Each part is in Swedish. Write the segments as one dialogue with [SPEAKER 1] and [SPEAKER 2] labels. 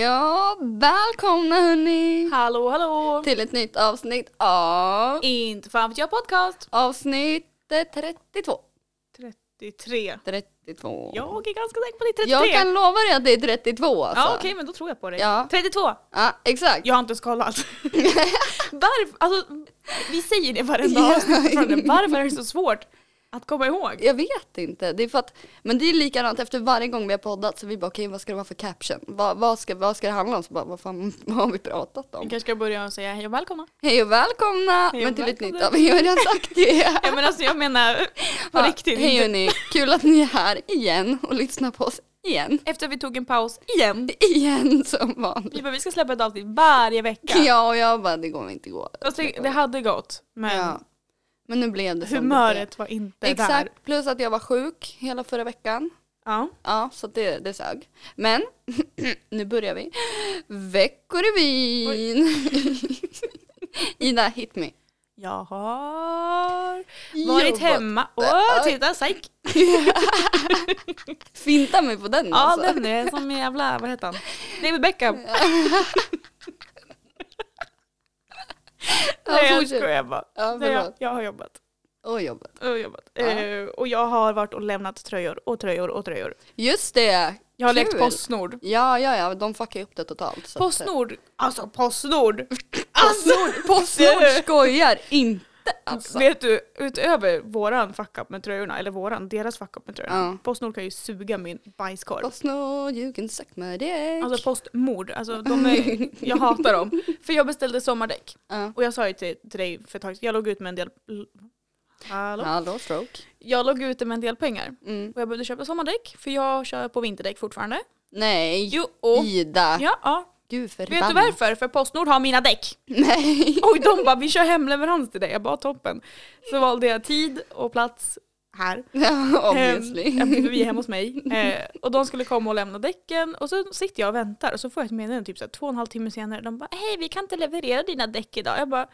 [SPEAKER 1] Ja, välkomna hörni!
[SPEAKER 2] Hallå hallå!
[SPEAKER 1] Till ett nytt avsnitt av
[SPEAKER 2] Inte fan vet jag podcast!
[SPEAKER 1] avsnittet 32.
[SPEAKER 2] 33.
[SPEAKER 1] 32.
[SPEAKER 2] Jag är ganska säker på det är 33.
[SPEAKER 1] Jag kan lova dig att det är 32 alltså.
[SPEAKER 2] Ja okej men då tror jag på dig.
[SPEAKER 1] Ja.
[SPEAKER 2] 32!
[SPEAKER 1] Ja, exakt.
[SPEAKER 2] Jag har inte ens kollat. Varför? Alltså vi säger det varenda
[SPEAKER 1] Ja.
[SPEAKER 2] avsnitt fortfarande. Varför är det så svårt att komma ihåg?
[SPEAKER 1] Jag vet inte. Det är för att, men det är likadant efter varje gång vi har poddat så vi bara okej vad ska det vara för caption? Vad, vad, ska, vad ska det handla om? Så bara, vad fan vad har vi pratat
[SPEAKER 2] Vi
[SPEAKER 1] om?
[SPEAKER 2] kanske ska börja och säga hej och välkomna.
[SPEAKER 1] Hej och välkomna!
[SPEAKER 2] Hej och
[SPEAKER 1] men till ett nytt
[SPEAKER 2] välkomna.
[SPEAKER 1] avsnitt. Jag har redan sagt det.
[SPEAKER 2] Ja, men alltså jag menar på
[SPEAKER 1] Ja,
[SPEAKER 2] riktigt.
[SPEAKER 1] Hej
[SPEAKER 2] inte-
[SPEAKER 1] hörni, kul att ni är här igen och lyssnar på oss igen.
[SPEAKER 2] Efter vi tog en paus igen.
[SPEAKER 1] Igen som vanligt.
[SPEAKER 2] Vi bara vi ska släppa ett avsnitt varje vecka.
[SPEAKER 1] Ja, och jag bara det går inte gå.
[SPEAKER 2] Alltså, det hade gått men
[SPEAKER 1] Ja. Men nu blev det som det blev.
[SPEAKER 2] humöret var inte där.
[SPEAKER 1] Exakt, plus att jag var sjuk hela förra veckan.
[SPEAKER 2] Ja.
[SPEAKER 1] Ja, så att det, det sög. Men nu börjar vi. Veckorevyn! Ida, hit me.
[SPEAKER 2] Jag har varit
[SPEAKER 1] Jobbat.
[SPEAKER 2] hemma. Åh,
[SPEAKER 1] Oj.
[SPEAKER 2] titta psyk!
[SPEAKER 1] Finta mig på den
[SPEAKER 2] Ja,
[SPEAKER 1] alltså.
[SPEAKER 2] den är som en jävla, vad heter han? David Beckham. Nej, jag
[SPEAKER 1] fortsätt.
[SPEAKER 2] skojar bara.
[SPEAKER 1] Ja,
[SPEAKER 2] Nej, jag,
[SPEAKER 1] förlåt.
[SPEAKER 2] jag har jobbat.
[SPEAKER 1] Och jobbat.
[SPEAKER 2] Jag har jobbat.
[SPEAKER 1] Ja.
[SPEAKER 2] Eh, och jag har varit och lämnat tröjor och tröjor och tröjor.
[SPEAKER 1] Just det!
[SPEAKER 2] Jag har lekt
[SPEAKER 1] Kul.
[SPEAKER 2] Postnord.
[SPEAKER 1] Ja, ja, ja, de fuckar ju upp det totalt. så att-
[SPEAKER 2] Postnord! Alltså Postnord! Alltså,
[SPEAKER 1] Postnord, Postnord skojar inte alltså.
[SPEAKER 2] Vet du, utöver våran fuck-up med tröjorna, eller våran, deras fuck-up med tröjorna.
[SPEAKER 1] Ja.
[SPEAKER 2] Postnord kan ju suga min bajskorv.
[SPEAKER 1] Postnord, you can suck my dick.
[SPEAKER 2] Alltså postmord, alltså de är, jag hatar dem. För jag beställde sommardäck.
[SPEAKER 1] Ja.
[SPEAKER 2] Och jag sa ju till, till dig för ett tag sedan, jag låg ut med en del... Hallå?
[SPEAKER 1] Hallå stroke.
[SPEAKER 2] Jag låg ute med en del pengar.
[SPEAKER 1] Mm.
[SPEAKER 2] Och jag behövde köpa sommardäck för jag kör på vinterdäck fortfarande.
[SPEAKER 1] Nej,
[SPEAKER 2] Jo, och,
[SPEAKER 1] Ida.
[SPEAKER 2] ja, ja.
[SPEAKER 1] Gud
[SPEAKER 2] Vet
[SPEAKER 1] förbannat.
[SPEAKER 2] du varför? För Postnord har mina däck.
[SPEAKER 1] Nej.
[SPEAKER 2] Och de bara, vi kör hemleverans till dig. Jag bara, toppen. Så valde jag tid och plats här.
[SPEAKER 1] Obviously.
[SPEAKER 2] Ehm, för vi är hemma hos mig. Eh, och de skulle komma och lämna däcken och så sitter jag och väntar och så får jag ett meddelande typ så här, två och en halv timme senare. De bara hej vi kan inte leverera dina däck idag. Jag bara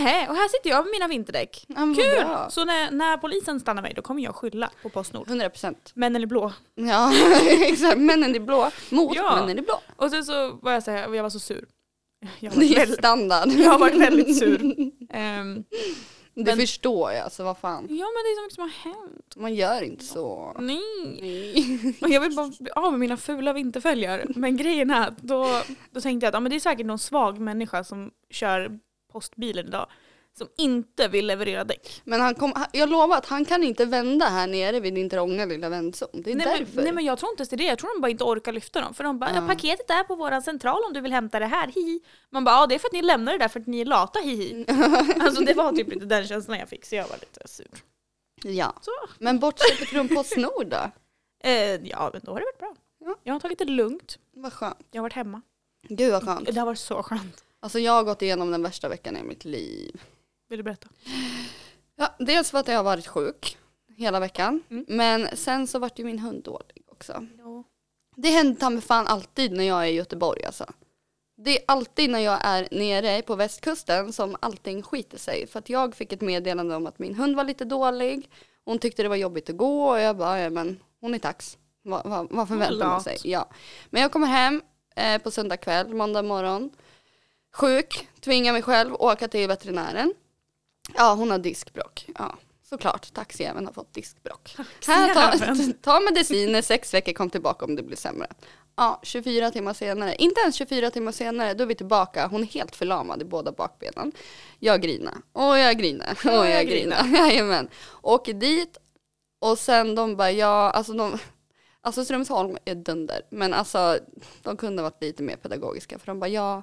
[SPEAKER 2] nej och här sitter jag med mina vinterdäck.
[SPEAKER 1] Ja, men vad
[SPEAKER 2] Kul!
[SPEAKER 1] bra.
[SPEAKER 2] Så när, när polisen stannar mig då kommer jag skylla på Postnord.
[SPEAKER 1] 100 procent.
[SPEAKER 2] Männen är blå.
[SPEAKER 1] Ja, exakt. Männen i blå mot
[SPEAKER 2] Ja.
[SPEAKER 1] männen i blå.
[SPEAKER 2] Och sen så var jag så här, och jag var så sur. Jag var
[SPEAKER 1] Det är
[SPEAKER 2] väldigt,
[SPEAKER 1] standard.
[SPEAKER 2] jag har varit väldigt sur. Ehm,
[SPEAKER 1] Det
[SPEAKER 2] Men-
[SPEAKER 1] förstår jag, så vad fan.
[SPEAKER 2] ja men det är så mycket som har hänt.
[SPEAKER 1] Man gör inte så.
[SPEAKER 2] Nej.
[SPEAKER 1] Nej.
[SPEAKER 2] Och jag vill bara bli av med mina fula vinterfälgar. Men grejen är att då, då tänkte jag att ja, men det är säkert någon svag människa som kör postbilen idag. Som inte vill leverera däck.
[SPEAKER 1] Men han kom, jag lovar att han kan inte vända här nere vid din trånga lilla vändzon. Det är
[SPEAKER 2] Nej
[SPEAKER 1] därför. Ah.
[SPEAKER 2] men, nej men jag tror inte ens det är det. Jag tror de bara inte orkar lyfta dem. För de bara
[SPEAKER 1] Ja.
[SPEAKER 2] ja. paketet är på våran central om du vill hämta det här. Hihi. Man bara ja det är för att ni lämnar det där för att ni är lata. Hihi.
[SPEAKER 1] Mm.
[SPEAKER 2] Alltså det var typ lite den känslan jag fick så jag var lite sur.
[SPEAKER 1] Ja.
[SPEAKER 2] Så
[SPEAKER 1] Men bortsett från Postnord då?
[SPEAKER 2] eh, ja men då har det varit bra.
[SPEAKER 1] Ja.
[SPEAKER 2] Jag har tagit det lugnt.
[SPEAKER 1] Vad skönt.
[SPEAKER 2] Jag har varit hemma.
[SPEAKER 1] Gud vad skönt.
[SPEAKER 2] Det har varit så skönt.
[SPEAKER 1] Alltså jag har gått igenom den värsta veckan i mitt liv.
[SPEAKER 2] Vill du berätta?
[SPEAKER 1] Ja, dels för att jag har varit sjuk hela veckan.
[SPEAKER 2] Mm.
[SPEAKER 1] Men sen så vart ju min hund dålig också.
[SPEAKER 2] Ja.
[SPEAKER 1] Det händer ta mig fan alltid när jag är i Göteborg alltså. Det är alltid när jag är nere på västkusten som allting skiter sig. För att jag fick ett meddelande om att min hund var lite dålig. Hon tyckte det var jobbigt att gå och jag bara, ja men hon är tax. Vad, vad, vad förväntar man
[SPEAKER 2] lat.
[SPEAKER 1] sig? Ja. Men jag kommer hem eh, på söndag kväll, måndag morgon. Sjuk, tvingar mig själv åka till veterinären. Ja, hon har diskbråck. Ja, såklart. Taxijäveln har fått diskbråck. Här, ta,
[SPEAKER 2] Taxijäveln.
[SPEAKER 1] ta mediciner, sex veckor, kom tillbaka om det blir sämre. Ja, 24 timmar senare, inte ens 24 timmar senare, då är vi tillbaka. Hon är helt förlamad i båda bakbenen. Jag grinar, och jag grinar, och jag,
[SPEAKER 2] jag
[SPEAKER 1] grinar. Jajamän. Åker dit och sen de bara, ja, alltså de, alltså Strömsholm är dunder, men alltså de kunde ha varit lite mer pedagogiska för de bara, ja,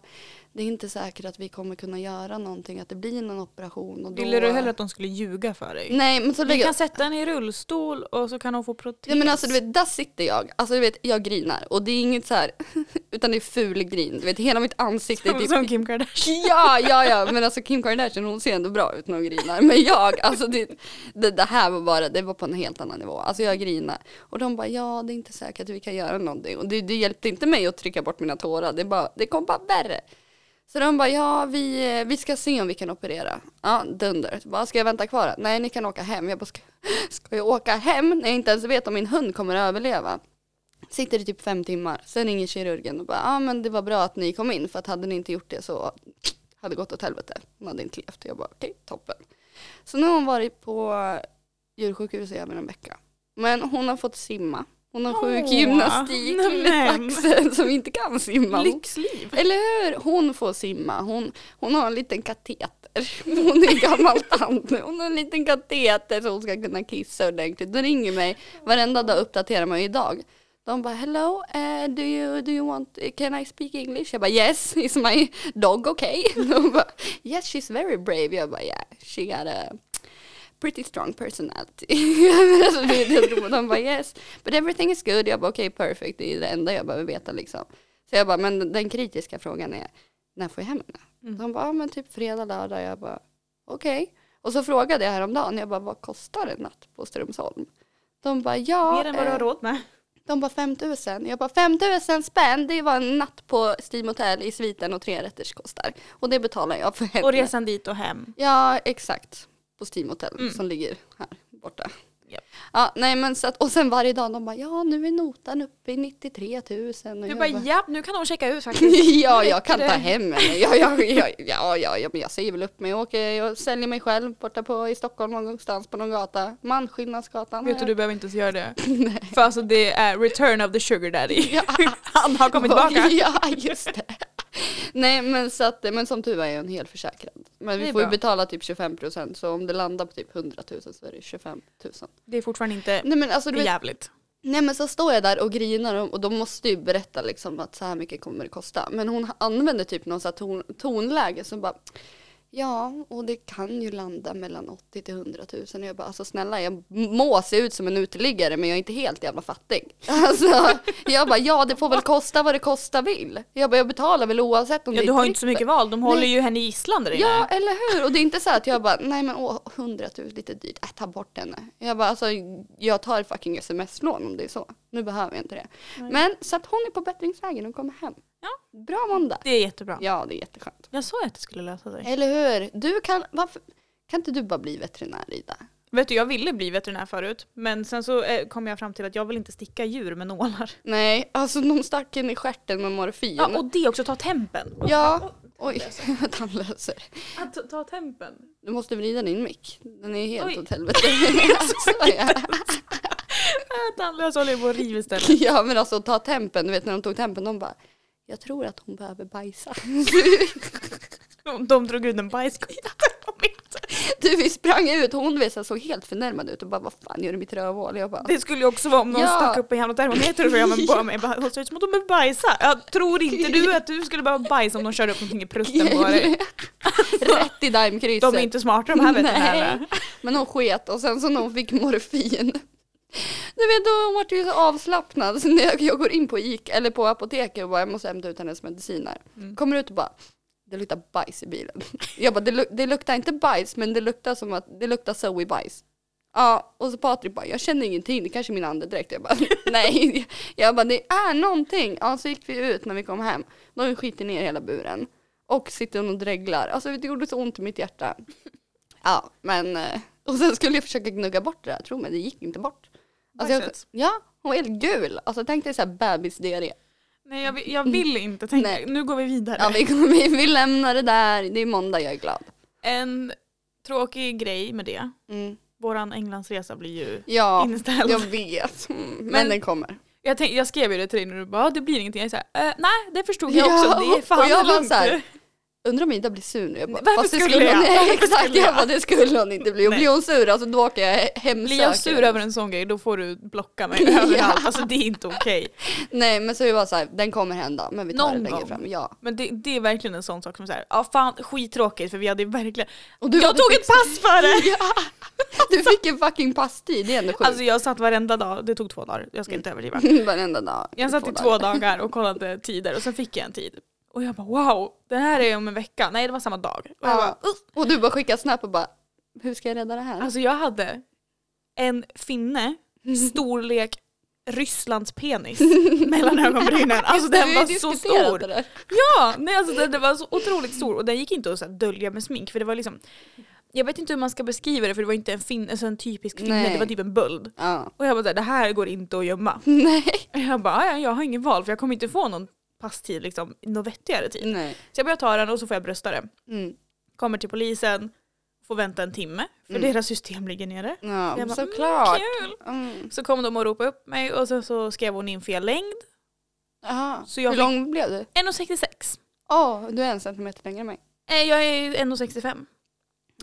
[SPEAKER 1] det är inte säkert att vi kommer kunna göra någonting, att det blir någon operation och då...
[SPEAKER 2] Ville du hellre att de skulle ljuga för dig?
[SPEAKER 1] Nej, men så
[SPEAKER 2] Vi
[SPEAKER 1] lägger
[SPEAKER 2] kan sätta henne i rullstol och så kan hon få protes.
[SPEAKER 1] Ja men alltså du vet, där sitter jag. Alltså du vet, jag grinar. Och det är inget så här, utan det är ful grin. Du vet, hela mitt ansikte är
[SPEAKER 2] som,
[SPEAKER 1] typ...
[SPEAKER 2] som Kim Kardashian.
[SPEAKER 1] Ja, ja, ja. Men alltså Kim Kardashian hon ser ändå bra ut när hon grinar. Men jag, alltså det, det, det här var bara, det var på en helt annan nivå. Alltså jag grinar. Och de bara, ja det är inte säkert att vi kan göra någonting. Och det, det hjälpte inte mig att trycka bort mina tårar. Det, bara, det kom bara värre. Så de bara, ja vi, vi ska se om vi kan operera. Ja, dunder. Bara, ska jag vänta kvar? Nej, ni kan åka hem. Jag bara, ska, ska jag åka hem när jag inte ens vet om min hund kommer att överleva? Sitter i typ fem timmar, sen ringer kirurgen och bara ja ah, men det var bra att ni kom in för att hade ni inte gjort det så hade det gått åt helvete. Hon hade inte levt. Jag bara okej, toppen. Så nu har hon varit på djursjukhus i över en vecka. Men hon har fått simma. Hon har
[SPEAKER 2] Åh,
[SPEAKER 1] sjukgymnastik med
[SPEAKER 2] nämen.
[SPEAKER 1] axeln som inte kan simma. Hon
[SPEAKER 2] Lyxliv.
[SPEAKER 1] eller hur? Hon får simma. Hon, hon har en liten kateter. Hon är gammal tant nu. Hon har en liten kateter så hon ska kunna kissa ordentligt. De ringer mig varenda dag och uppdaterar mig idag. De bara hello, eh, do, you, do you want, can I speak English? Jag bara yes, is my dog okay? De bara yes she's very brave. Jag bara yeah, she got a pretty strong personality. alltså, det- det- de bara yes, but everything is good. Jag bara okej perfect, det är det enda jag behöver veta liksom. Så jag bara, men den kritiska frågan är, när får jag hem henne?
[SPEAKER 2] Mm.
[SPEAKER 1] De bara, ja, men typ fredag, lördag. Jag bara, okej. Och så frågade jag häromdagen, jag bara, vad kostar en natt på Strömsholm? De bara, ja.
[SPEAKER 2] Mer än vad du har
[SPEAKER 1] eh,
[SPEAKER 2] råd med.
[SPEAKER 1] de bara 5000. Jag bara 5000 spänn, det var en natt på Steam Hotel i sviten och tre rätters kostar. Och det betalar jag för henne.
[SPEAKER 2] Och resan dit och hem.
[SPEAKER 1] Ja, exakt. På Steam Hotel
[SPEAKER 2] Mm.
[SPEAKER 1] som ligger här borta.
[SPEAKER 2] Japp.
[SPEAKER 1] Ja, nej men så att, och sen varje dag de bara, ja nu är notan uppe i 93 000. Och
[SPEAKER 2] Du
[SPEAKER 1] jag
[SPEAKER 2] bara japp, nu kan hon checka ut faktiskt.
[SPEAKER 1] ja,
[SPEAKER 2] Nu
[SPEAKER 1] jag
[SPEAKER 2] räcker
[SPEAKER 1] kan ta
[SPEAKER 2] det.
[SPEAKER 1] hem henne. Ja, ja, ja, ja, ja, ja, men jag säger väl upp mig och åker. Jag säljer mig själv borta på, i Stockholm någonstans på någon gata. Malmskillnadsgatan.
[SPEAKER 2] Vet du, du behöver inte ens göra det. För alltså det är return of the sugar daddy. Han har kommit tillbaka.
[SPEAKER 1] Ja, just det. Nej, men, så att, men som tur är jag en helförsäkrad. Men
[SPEAKER 2] Det är
[SPEAKER 1] vi får ju
[SPEAKER 2] bra.
[SPEAKER 1] betala typ 25 procent. Så om det landar på typ 100 000 så är det 25 000.
[SPEAKER 2] Det är fortfarande inte
[SPEAKER 1] Nej, men alltså du vet,
[SPEAKER 2] jävligt.
[SPEAKER 1] Nej men så står jag där och grinar och- och de måste ju berätta liksom att så här mycket kommer det kosta. Men hon använder typ någon så här ton, tonläge som bara Ja, och det kan ju landa mellan 80 till 100 000. Och jag bara, alltså snälla, jag må se ut som en uteliggare men jag är inte helt jävla fattig. Alltså, jag bara, ja det får väl kosta vad det kosta vill. Jag bara, jag betalar väl oavsett om
[SPEAKER 2] Ja,
[SPEAKER 1] det
[SPEAKER 2] du har
[SPEAKER 1] är
[SPEAKER 2] ju inte så
[SPEAKER 1] trippel.
[SPEAKER 2] mycket val, de håller
[SPEAKER 1] Nej.
[SPEAKER 2] ju henne gisslan där inne.
[SPEAKER 1] Ja, eller hur? Och det är inte så att jag bara, nej men åh, 100 000 lite dyrt, äh, ta bort henne. Jag bara, alltså jag tar fucking sms-lån om det är så. Nu behöver jag inte det.
[SPEAKER 2] Nej.
[SPEAKER 1] Men så att hon är på bättringsvägen och kommer hem.
[SPEAKER 2] Ja.
[SPEAKER 1] Bra måndag.
[SPEAKER 2] Det är jättebra.
[SPEAKER 1] Ja, det är jätteskönt.
[SPEAKER 2] Jag sa ju att det skulle lösa sig.
[SPEAKER 1] Eller hur? Du kan, varför, kan inte du bara bli veterinär Ida?
[SPEAKER 2] Vet du, jag ville bli veterinär förut, men sen så eh, kom jag fram till att jag vill inte sticka djur med nålar.
[SPEAKER 1] Nej, alltså de stack in i stjärten med morfin.
[SPEAKER 2] Ja, och det också, ta tempen.
[SPEAKER 1] ja. oj, tandlösare.
[SPEAKER 2] Att ta tempen.
[SPEAKER 1] Du måste vrida din mick. Den är helt
[SPEAKER 2] Oj.
[SPEAKER 1] åt helvete. Så, ja.
[SPEAKER 2] Äh, Tandlös håller ju på att riva istället.
[SPEAKER 1] Ja men alltså ta tempen, du vet när de tog tempen de bara jag tror att hon behöver bajsa.
[SPEAKER 2] De- De drog ut en bajskorv.
[SPEAKER 1] Du vi sprang ut, hon vet, så såg helt förnärmad ut och bara vad fan gör du i mitt rövhål? Jag bara
[SPEAKER 2] Det skulle ju också vara om någon
[SPEAKER 1] Ja.
[SPEAKER 2] stack upp en jävla termometer och så gör man på mig. Bara, "Hon ser ut som att de behöver bajsa. Jag tror inte du att du skulle behöva bajsa om de körde upp någonting i prutten på dig.
[SPEAKER 1] rätt i daimkrysset.
[SPEAKER 2] De är inte smarta de här veterinärerna.
[SPEAKER 1] Nej. Men hon sket och sen så när hon fick morfin. Du vet då hon vart ju så avslappnad så när jag, jag går in på Ica eller på apoteket och bara jag måste hämta ut hennes mediciner.
[SPEAKER 2] Mm.
[SPEAKER 1] Kommer ut och bara det luktar bajs i bilen. Jag bara det, luk- det luktar inte bajs men det luktar som att det luktar Zoe bajs. Ja och så Patrik bara jag känner ingenting det kanske är min andedräkt. Jag bara nej. Jag bara det är någonting. Ja så gick vi ut när vi kom hem. Då har vi skitit ner hela buren. Och sitter och dreglar. Alltså det gjorde så ont i mitt hjärta. Ja, men eh, och sen skulle jag försöka gnugga bort det där, tro mig, det gick inte bort. Alltså, jag,
[SPEAKER 2] Bajset.
[SPEAKER 1] ja, hon var helt gul. Alltså tänk dig så här bebisdiarré.
[SPEAKER 2] Nej, jag, vill- jag vill inte tänka.
[SPEAKER 1] Mm. Nej.
[SPEAKER 2] Nu går vi vidare.
[SPEAKER 1] Ja, vi, vi, vi lämnar det där, det är måndag, jag är glad.
[SPEAKER 2] En tråkig grej med det.
[SPEAKER 1] Mm.
[SPEAKER 2] Våran Englandsresa blir ju
[SPEAKER 1] Ja,
[SPEAKER 2] inställd.
[SPEAKER 1] jag vet. Mm, men,
[SPEAKER 2] Men-
[SPEAKER 1] den kommer.
[SPEAKER 2] Jag, tänkte, jag skrev ju det till dig när du bara "Ja, det blir ingenting. Jag är såhär, eh, nej det förstod jag
[SPEAKER 1] Ja,
[SPEAKER 2] också. Det är fan
[SPEAKER 1] och jag var
[SPEAKER 2] lugnt.
[SPEAKER 1] så här, Undrar om Ida blir sur nu? Jag bara,
[SPEAKER 2] Varför
[SPEAKER 1] fast det
[SPEAKER 2] skulle
[SPEAKER 1] hon,
[SPEAKER 2] jag?
[SPEAKER 1] Nej,
[SPEAKER 2] Varför
[SPEAKER 1] exakt,
[SPEAKER 2] skulle jag?
[SPEAKER 1] jag bara, det skulle hon inte bli. Och
[SPEAKER 2] Nej.
[SPEAKER 1] blir hon sur, alltså då åker jag hemsöker.
[SPEAKER 2] Blir jag sur över en sån grej då får du blocka mig överallt. Alltså det är inte okej.
[SPEAKER 1] Nej, men så det var så här, den kommer hända, men vi tar
[SPEAKER 2] Någon
[SPEAKER 1] det längre
[SPEAKER 2] gång.
[SPEAKER 1] fram. Ja.
[SPEAKER 2] Men det, det är verkligen en sån sak som såhär, ja fan skittråkigt för vi hade ju verkligen...
[SPEAKER 1] Och du
[SPEAKER 2] jag
[SPEAKER 1] hade
[SPEAKER 2] tog ett pass för det!
[SPEAKER 1] Du fick en fucking passtid, det är ändå sjukt. Mm.
[SPEAKER 2] Alltså jag satt varenda dag, det tog två dagar, jag ska inte överdriva.
[SPEAKER 1] Varenda dag.
[SPEAKER 2] Jag satt i två dagar och kollade tider och sen fick jag en tid. Och jag bara wow, det här är om en vecka. Nej det var samma dag. Och jag
[SPEAKER 1] Ja.
[SPEAKER 2] bara, "Ugh."
[SPEAKER 1] Och du bara skickar snap och bara, hur ska jag rädda det här?
[SPEAKER 2] Alltså jag hade en finne, storlek Rysslands penis mellan ögonbrynen. Alltså
[SPEAKER 1] Vi har
[SPEAKER 2] den
[SPEAKER 1] ju
[SPEAKER 2] var så
[SPEAKER 1] diskuterat
[SPEAKER 2] stor.
[SPEAKER 1] det där.
[SPEAKER 2] Ja, nej alltså den, den var så otroligt stor och den gick inte att så här, dölja med smink för det var liksom jag vet inte hur man ska beskriva det för det var inte en, fin, alltså en typisk finne,
[SPEAKER 1] Nej.
[SPEAKER 2] det var typ en böld.
[SPEAKER 1] Ja.
[SPEAKER 2] Och jag bara såhär, det här går inte att gömma.
[SPEAKER 1] Nej.
[SPEAKER 2] Jag bara, ja, jag har ingen val för jag kommer inte få någon passtid, liksom, någon vettigare tid.
[SPEAKER 1] Nej.
[SPEAKER 2] Så jag börjar ta den och så får jag brösta den.
[SPEAKER 1] Mm.
[SPEAKER 2] Kommer till polisen, får vänta en timme för
[SPEAKER 1] Mm.
[SPEAKER 2] deras system ligger nere.
[SPEAKER 1] Ja,
[SPEAKER 2] Jag bara,
[SPEAKER 1] såklart.
[SPEAKER 2] Mm, kul!
[SPEAKER 1] Mm.
[SPEAKER 2] Så kom de och ropade upp mig och sen så skrev hon in fel längd.
[SPEAKER 1] Aha.
[SPEAKER 2] Så jag
[SPEAKER 1] Hur
[SPEAKER 2] fick-
[SPEAKER 1] lång blev du?
[SPEAKER 2] 1,66.
[SPEAKER 1] Åh, du är en centimeter längre än mig.
[SPEAKER 2] Eh, Jag är 1,65.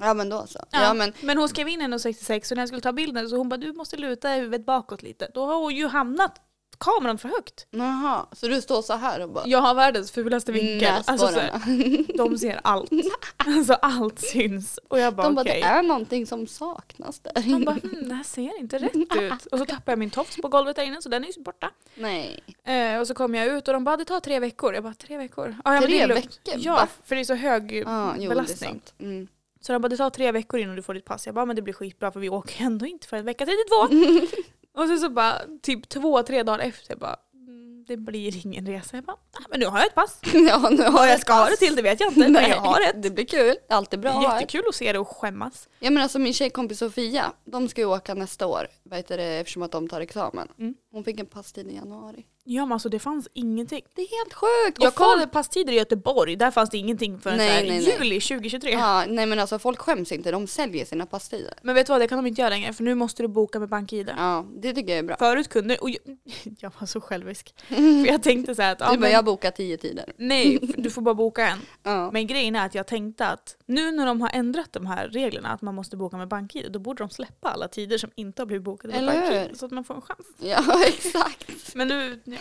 [SPEAKER 1] Ja men då så.
[SPEAKER 2] Ja.
[SPEAKER 1] Ja, men,
[SPEAKER 2] Men hon skrev in 1,66 så när jag skulle ta bilden så hon bara du måste luta huvudet bakåt lite. Då har hon ju hamnat kameran för högt.
[SPEAKER 1] aha. Så du står så här och bara
[SPEAKER 2] Jag har världens fulaste
[SPEAKER 1] Mm,
[SPEAKER 2] vinkel. Alltså, så här,
[SPEAKER 1] näsborrarna.
[SPEAKER 2] de ser allt. Alltså allt syns. Och jag bara
[SPEAKER 1] De bara,
[SPEAKER 2] okej.
[SPEAKER 1] det är någonting som saknas där.
[SPEAKER 2] De bara hmm, det här ser inte rätt ut. Och så tappade jag min tofs på golvet där inne så den är ju borta.
[SPEAKER 1] Nej.
[SPEAKER 2] Eh, och så kom jag ut och de bara det tar tre veckor. Jag bara tre veckor? Ah, ja, men
[SPEAKER 1] Tre
[SPEAKER 2] det är lugnt.
[SPEAKER 1] veckor?
[SPEAKER 2] Ja
[SPEAKER 1] Va?
[SPEAKER 2] för det är så hög
[SPEAKER 1] Ja, jo, det är
[SPEAKER 2] belastning.
[SPEAKER 1] sant. Mm.
[SPEAKER 2] Så de bara, det tar tre veckor innan du får ditt pass. Jag bara, men det blir skitbra för vi åker ju ändå inte förrän vecka 32. och sen så bara, typ två, tre dagar efter bara, "Mm, det blir ingen resa. Jag bara, "Ah, men nu har jag ett pass.
[SPEAKER 1] Ja, nu har
[SPEAKER 2] Vad
[SPEAKER 1] jag
[SPEAKER 2] jag
[SPEAKER 1] ett
[SPEAKER 2] ska ha det
[SPEAKER 1] pass.
[SPEAKER 2] till, det vet jag inte. Men jag har ett.
[SPEAKER 1] Det blir kul. Allt är bra att ha ett.
[SPEAKER 2] Jättekul att se det och skämmas.
[SPEAKER 1] Ja men alltså min tjejkompis Sofia, de ska ju åka nästa år. Vad heter det, eftersom att de tar examen.
[SPEAKER 2] Mm.
[SPEAKER 1] Hon fick en passtid i januari.
[SPEAKER 2] Ja men alltså det fanns ingenting.
[SPEAKER 1] Det är helt sjukt!
[SPEAKER 2] Jag
[SPEAKER 1] Och folk-
[SPEAKER 2] kollade passtider i Göteborg, där fanns det ingenting förrän
[SPEAKER 1] Nej,
[SPEAKER 2] så här,
[SPEAKER 1] nej, nej.
[SPEAKER 2] juli 2023.
[SPEAKER 1] Ja, nej men alltså folk skäms inte, de säljer sina passtider.
[SPEAKER 2] Men vet du vad, det kan de inte göra längre för nu måste du boka med BankID.
[SPEAKER 1] Ja, det tycker jag är bra.
[SPEAKER 2] Förut kunde och jag, jag var så självisk. För jag tänkte så här att, ja,
[SPEAKER 1] du bara,
[SPEAKER 2] men,
[SPEAKER 1] jag bokar tio tider.
[SPEAKER 2] nej du får bara boka en.
[SPEAKER 1] Ja.
[SPEAKER 2] Men grejen är att jag tänkte att nu när de har ändrat de här reglerna att man måste boka med bank-id, då borde de släppa alla tider som inte har blivit bokade med
[SPEAKER 1] Eller
[SPEAKER 2] bank-id
[SPEAKER 1] hur?
[SPEAKER 2] så att man får en chans.
[SPEAKER 1] Ja, exakt.
[SPEAKER 2] Men nu, ja.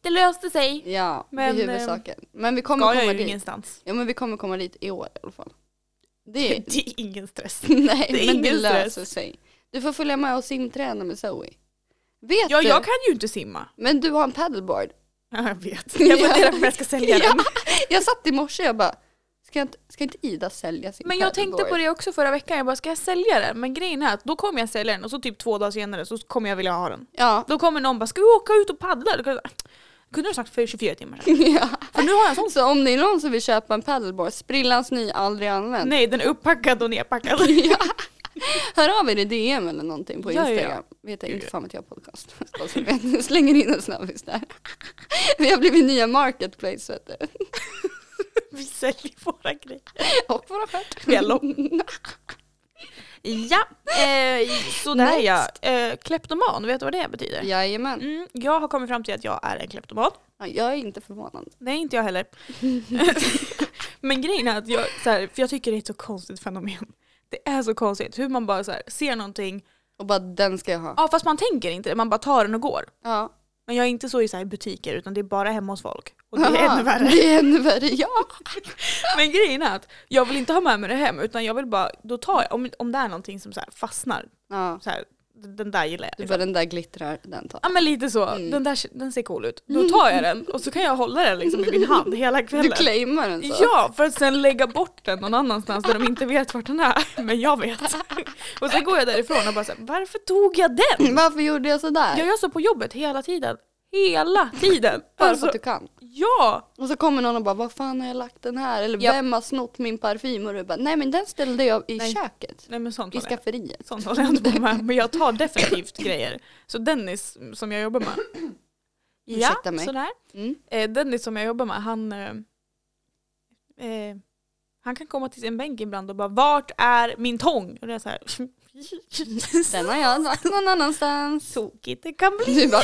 [SPEAKER 2] det löste sig.
[SPEAKER 1] Ja,
[SPEAKER 2] Men, eh,
[SPEAKER 1] det är huvudsaken. Men vi kommer
[SPEAKER 2] Ska
[SPEAKER 1] komma
[SPEAKER 2] jag ju
[SPEAKER 1] dit.
[SPEAKER 2] ingenstans.
[SPEAKER 1] Ja men vi kommer komma dit i år i alla fall. Det är,
[SPEAKER 2] Det är ingen stress.
[SPEAKER 1] nej,
[SPEAKER 2] Det är
[SPEAKER 1] men det
[SPEAKER 2] ingen
[SPEAKER 1] löser
[SPEAKER 2] stress.
[SPEAKER 1] sig. Du får följa med och simträna med Zoe. Vet
[SPEAKER 2] Ja,
[SPEAKER 1] du?
[SPEAKER 2] jag kan ju inte simma.
[SPEAKER 1] Men du har en paddleboard.
[SPEAKER 2] Ja, jag vet. Jag
[SPEAKER 1] Ja.
[SPEAKER 2] funderar på om jag ska sälja
[SPEAKER 1] Ja.
[SPEAKER 2] den.
[SPEAKER 1] Jag satt i morse och bara, ska inte, ska inte Ida sälja sin
[SPEAKER 2] Men jag tänkte
[SPEAKER 1] paddleboard?
[SPEAKER 2] på det också förra veckan, jag bara ska jag sälja den? Men grejen är att då kommer jag sälja den och så typ två dagar senare så kommer jag vilja ha den.
[SPEAKER 1] Ja.
[SPEAKER 2] Då kommer någon bara, ska vi åka ut och paddla? Då kan jag- Kunde du ha sagt för 24 timmar sedan?
[SPEAKER 1] ja.
[SPEAKER 2] För nu har jag en sån
[SPEAKER 1] Så om det är någon som vill köpa en paddleboard, sprillans ny, aldrig använd.
[SPEAKER 2] Nej, den är upppackad och nerpackad.
[SPEAKER 1] Ja. Hör av er i DM eller någonting på
[SPEAKER 2] Ja, ja, ja.
[SPEAKER 1] Instagram. Vet jag, inte
[SPEAKER 2] Ja.
[SPEAKER 1] fan vet jag podcast. Bara så ni vet, jag slänger in en snabbis där. Vi har blivit nya marketplace vet du.
[SPEAKER 2] Vi säljer våra grejer.
[SPEAKER 1] Och våra stjärt.
[SPEAKER 2] Fjällo. Ja, eh, sådär
[SPEAKER 1] Next.
[SPEAKER 2] ja. Eh, kleptoman, vet du vad det betyder?
[SPEAKER 1] Jajamän.
[SPEAKER 2] Mm, jag har kommit fram till att jag är en kleptoman.
[SPEAKER 1] Ja, jag är inte förvånad.
[SPEAKER 2] Nej, inte jag heller. Men grejen är att jag, så här, för jag tycker det är ett så konstigt fenomen. Det är så konstigt hur man bara så här, ser någonting,
[SPEAKER 1] Och bara den ska jag ha.
[SPEAKER 2] ja fast man tänker inte det, man bara tar den och går.
[SPEAKER 1] Ja.
[SPEAKER 2] Men jag är inte så i så här, butiker utan det är bara hemma hos folk. Och det är
[SPEAKER 1] Ja,
[SPEAKER 2] ännu värre.
[SPEAKER 1] Det är ännu värre, ja.
[SPEAKER 2] Men grejen är att jag vill inte ha med mig det hem utan jag vill bara, då tar jag, om, om det är någonting som så här fastnar,
[SPEAKER 1] ja.
[SPEAKER 2] så här, den den där gillar jag.
[SPEAKER 1] Du
[SPEAKER 2] liksom.
[SPEAKER 1] bara den där glittrar, den tar
[SPEAKER 2] Ja men lite så,
[SPEAKER 1] Mm.
[SPEAKER 2] den där den ser cool ut. Då tar jag den och så kan jag hålla den liksom i min hand hela
[SPEAKER 1] Du
[SPEAKER 2] kvällen.
[SPEAKER 1] claimar den så?
[SPEAKER 2] Ja, för att sen lägga bort den någon annanstans där de inte vet vart den är. Men jag vet. Och sen går jag därifrån och bara såhär, varför tog jag den?
[SPEAKER 1] Varför gjorde jag sådär?
[SPEAKER 2] Jag gör så på jobbet hela tiden. Hela tiden!
[SPEAKER 1] Bara för
[SPEAKER 2] Alltså,
[SPEAKER 1] att du kan.
[SPEAKER 2] ja!
[SPEAKER 1] Och så kommer någon och bara, vad fan har jag lagt den här? Eller
[SPEAKER 2] Japp.
[SPEAKER 1] vem har snott min parfym? Och du bara, nej men den ställde jag i
[SPEAKER 2] Nej.
[SPEAKER 1] köket.
[SPEAKER 2] Nej men sånt
[SPEAKER 1] I
[SPEAKER 2] håller jag-
[SPEAKER 1] skafferiet.
[SPEAKER 2] Sånt håller jag inte på med. Men jag tar definitivt grejer. Så Dennis som jag jobbar med. Ja,
[SPEAKER 1] Ursäkta mig.
[SPEAKER 2] sådär.
[SPEAKER 1] Mm.
[SPEAKER 2] Eh, Dennis som jag jobbar med, han, eh, eh, han kan komma till sin bänk ibland och bara “Vart är min tång?” Och det är så här.
[SPEAKER 1] Den har jag lagt någon annanstans.
[SPEAKER 2] Tokigt det kan bli.
[SPEAKER 1] Du bara,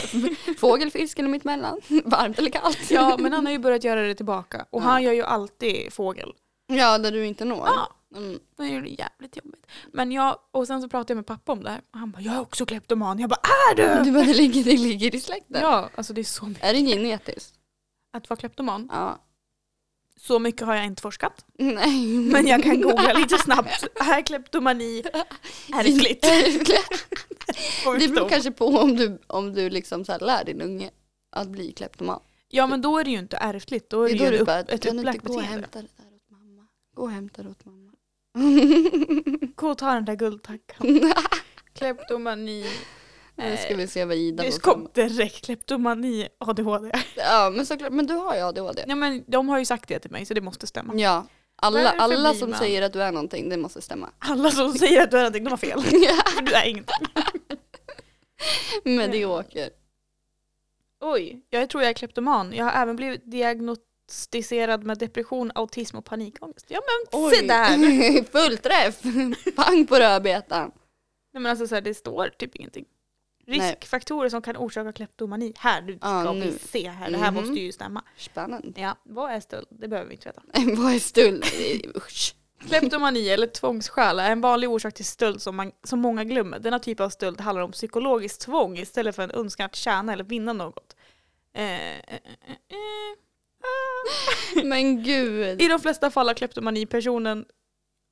[SPEAKER 1] fågel, fisk eller mittemellan? Varmt eller kallt?
[SPEAKER 2] Ja, men han har ju börjat göra det tillbaka. Och
[SPEAKER 1] Ja.
[SPEAKER 2] han gör ju alltid fågel.
[SPEAKER 1] Ja, där du inte når.
[SPEAKER 2] Ja,
[SPEAKER 1] Mm.
[SPEAKER 2] det är ju jävligt jobbigt. Men jag, och sen så pratade jag med pappa om det här. Och han bara “Jag är också kleptoman”. Jag bara “Är du?”
[SPEAKER 1] Du bara, det ligger, det ligger i släkten.
[SPEAKER 2] Ja, alltså det är så mycket.
[SPEAKER 1] Är det genetiskt?
[SPEAKER 2] Att vara kleptoman,
[SPEAKER 1] Ja.
[SPEAKER 2] så mycket har jag inte forskat.
[SPEAKER 1] Nej.
[SPEAKER 2] Men jag kan googla lite snabbt. Är kleptomani ärftligt?
[SPEAKER 1] Det beror
[SPEAKER 2] Sjukdom.
[SPEAKER 1] kanske på om du, om du liksom så här lär din unge att bli kleptoman.
[SPEAKER 2] Ja men då är det ju inte ärftligt, då är det,
[SPEAKER 1] då
[SPEAKER 2] ju
[SPEAKER 1] du
[SPEAKER 2] upp,
[SPEAKER 1] bara,
[SPEAKER 2] ett
[SPEAKER 1] kan du inte
[SPEAKER 2] upplagt
[SPEAKER 1] gå och
[SPEAKER 2] beteende.
[SPEAKER 1] hämta det där åt mamma? Gå och hämta det åt mamma.
[SPEAKER 2] Gå och ta den där guldtackan. kleptomani.
[SPEAKER 1] Nu ska vi se vad Ida
[SPEAKER 2] Nu
[SPEAKER 1] får
[SPEAKER 2] kom
[SPEAKER 1] fram.
[SPEAKER 2] direkt kleptomani, ADHD.
[SPEAKER 1] Ja men såklart, men du har ju ADHD.
[SPEAKER 2] Ja men de har ju sagt det till mig så det måste stämma.
[SPEAKER 1] Ja. Alla,
[SPEAKER 2] Varför
[SPEAKER 1] alla
[SPEAKER 2] blir
[SPEAKER 1] som
[SPEAKER 2] man-
[SPEAKER 1] säger att du är någonting, det måste stämma.
[SPEAKER 2] Alla som säger att du är någonting, de har fel. För du är ingenting.
[SPEAKER 1] Medioker.
[SPEAKER 2] Oj, jag tror jag är kleptoman. Jag har även blivit diagnostiserad med depression, autism och panikångest. Ja men se där! Nej
[SPEAKER 1] Full träff! Pang på rödbetan.
[SPEAKER 2] men alltså så här, det står typ ingenting.
[SPEAKER 1] Nej.
[SPEAKER 2] Riskfaktorer som kan orsaka kleptomani. Här, du
[SPEAKER 1] Ja,
[SPEAKER 2] ska vi
[SPEAKER 1] nu.
[SPEAKER 2] se här. Det här
[SPEAKER 1] Mhm.
[SPEAKER 2] måste ju stämma.
[SPEAKER 1] Spännande.
[SPEAKER 2] Ja, vad är stöld? Det behöver vi inte veta.
[SPEAKER 1] Vad är stöld? Usch.
[SPEAKER 2] Kleptomani eller tvångsskäl är en vanlig orsak till stöld som, man, som många glömmer. Denna typ av stöld handlar om psykologiskt tvång istället för en önskan att tjäna eller vinna något. Eh, eh, eh, eh, eh. Ah.
[SPEAKER 1] Men gud.
[SPEAKER 2] I de flesta fall av kleptomani personen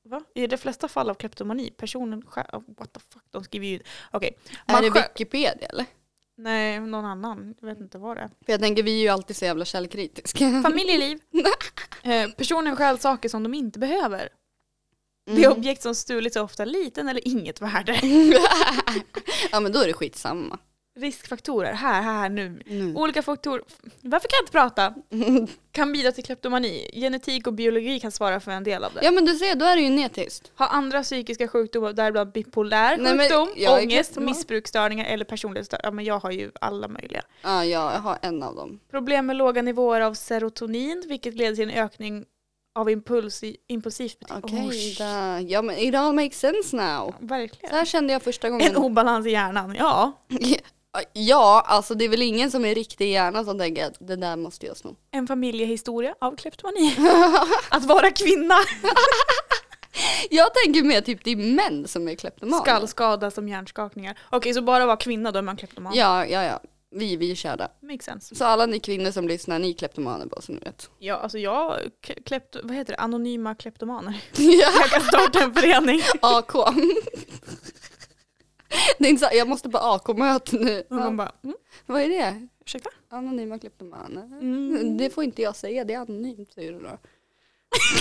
[SPEAKER 2] Va? I de flesta fall av kleptomani personen själv, oh, what the fuck, de skriver ju... Okej.
[SPEAKER 1] Är
[SPEAKER 2] Man
[SPEAKER 1] det
[SPEAKER 2] själv-
[SPEAKER 1] Wikipedia eller?
[SPEAKER 2] Nej, någon annan. Jag vet inte vad det är.
[SPEAKER 1] För jag tänker, vi är ju alltid så jävla källkritiska.
[SPEAKER 2] Familjeliv. eh, personen stjäl saker som de inte behöver. Det är
[SPEAKER 1] Mm.
[SPEAKER 2] objekt som stulits är ofta liten eller inget värde.
[SPEAKER 1] ja men då är det skitsamma.
[SPEAKER 2] Riskfaktorer, här, här, här, nu.
[SPEAKER 1] Nu.
[SPEAKER 2] Olika faktorer, varför kan jag inte prata? Kan bidra till kleptomani. Genetik och biologi kan svara för en del av det.
[SPEAKER 1] Ja men du ser, då är det ju genetiskt.
[SPEAKER 2] Har andra psykiska sjukdomar, däribland bipolär
[SPEAKER 1] Nej, men
[SPEAKER 2] sjukdom,
[SPEAKER 1] jag är
[SPEAKER 2] ångest,
[SPEAKER 1] kleptoman.
[SPEAKER 2] missbruksstörningar eller personlighetsstörningar. Ja, men jag har ju alla möjliga.
[SPEAKER 1] Ja, jag har en av dem.
[SPEAKER 2] Problem med låga nivåer av serotonin, vilket leder till en ökning av impuls, impulsivt beteende.
[SPEAKER 1] Okej,
[SPEAKER 2] Oh, shit.
[SPEAKER 1] där. ja men it all makes sense now. Så
[SPEAKER 2] Verkligen.
[SPEAKER 1] här kände jag första
[SPEAKER 2] En
[SPEAKER 1] gången.
[SPEAKER 2] obalans i hjärnan, ja.
[SPEAKER 1] Ja, alltså det är väl ingen som är riktig i hjärnan som tänker att det där måste jag sno.
[SPEAKER 2] En familjehistoria av kleptomani. Att vara kvinna.
[SPEAKER 1] Jag tänker mer typ det är män som är kleptomaner.
[SPEAKER 2] Skallskada som hjärnskakningar. Okej, så bara vara kvinna då är man kleptoman.
[SPEAKER 1] Ja, ja, ja. Vi, vi är körda.
[SPEAKER 2] Makes sense.
[SPEAKER 1] Så alla ni kvinnor som lyssnar, ni är kleptomaner bara så ni vet.
[SPEAKER 2] Ja, alltså jag, k- klept, vad heter det, anonyma kleptomaner.
[SPEAKER 1] Ja,
[SPEAKER 2] Jag kan starta en förening.
[SPEAKER 1] AK. Det är inte så, jag måste på AK-möten nu.
[SPEAKER 2] Och man bara, mm,
[SPEAKER 1] Vad är det?
[SPEAKER 2] ursäkta?
[SPEAKER 1] Anonyma kleptomaner.
[SPEAKER 2] Mm.
[SPEAKER 1] Det får inte jag säga, det är anonymt säger du då.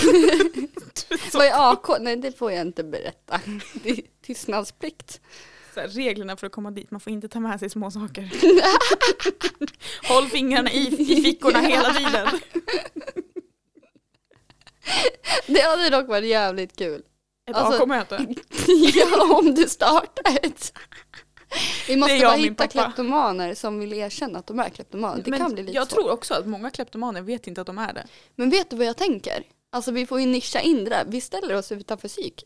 [SPEAKER 2] Du är så-
[SPEAKER 1] Vad är AK? Nej det får jag inte berätta. Det är tystnadsplikt.
[SPEAKER 2] så här, reglerna för att komma dit, man får inte ta med sig små saker. Håll fingrarna i, i fickorna hela tiden.
[SPEAKER 1] Det hade dock varit jävligt kul.
[SPEAKER 2] Ett
[SPEAKER 1] Alltså,
[SPEAKER 2] AK-möte.
[SPEAKER 1] Ja om du startar ett. Vi måste
[SPEAKER 2] jag och
[SPEAKER 1] bara
[SPEAKER 2] min
[SPEAKER 1] hitta
[SPEAKER 2] pappa.
[SPEAKER 1] kleptomaner som vill erkänna att de är kleptomaner. Det
[SPEAKER 2] Men
[SPEAKER 1] kan bli lite
[SPEAKER 2] jag
[SPEAKER 1] svårt.
[SPEAKER 2] tror också att många kleptomaner vet inte att de är det.
[SPEAKER 1] Men vet du vad jag tänker? Alltså vi får ju nischa in det där. Vi ställer oss utanför psyk.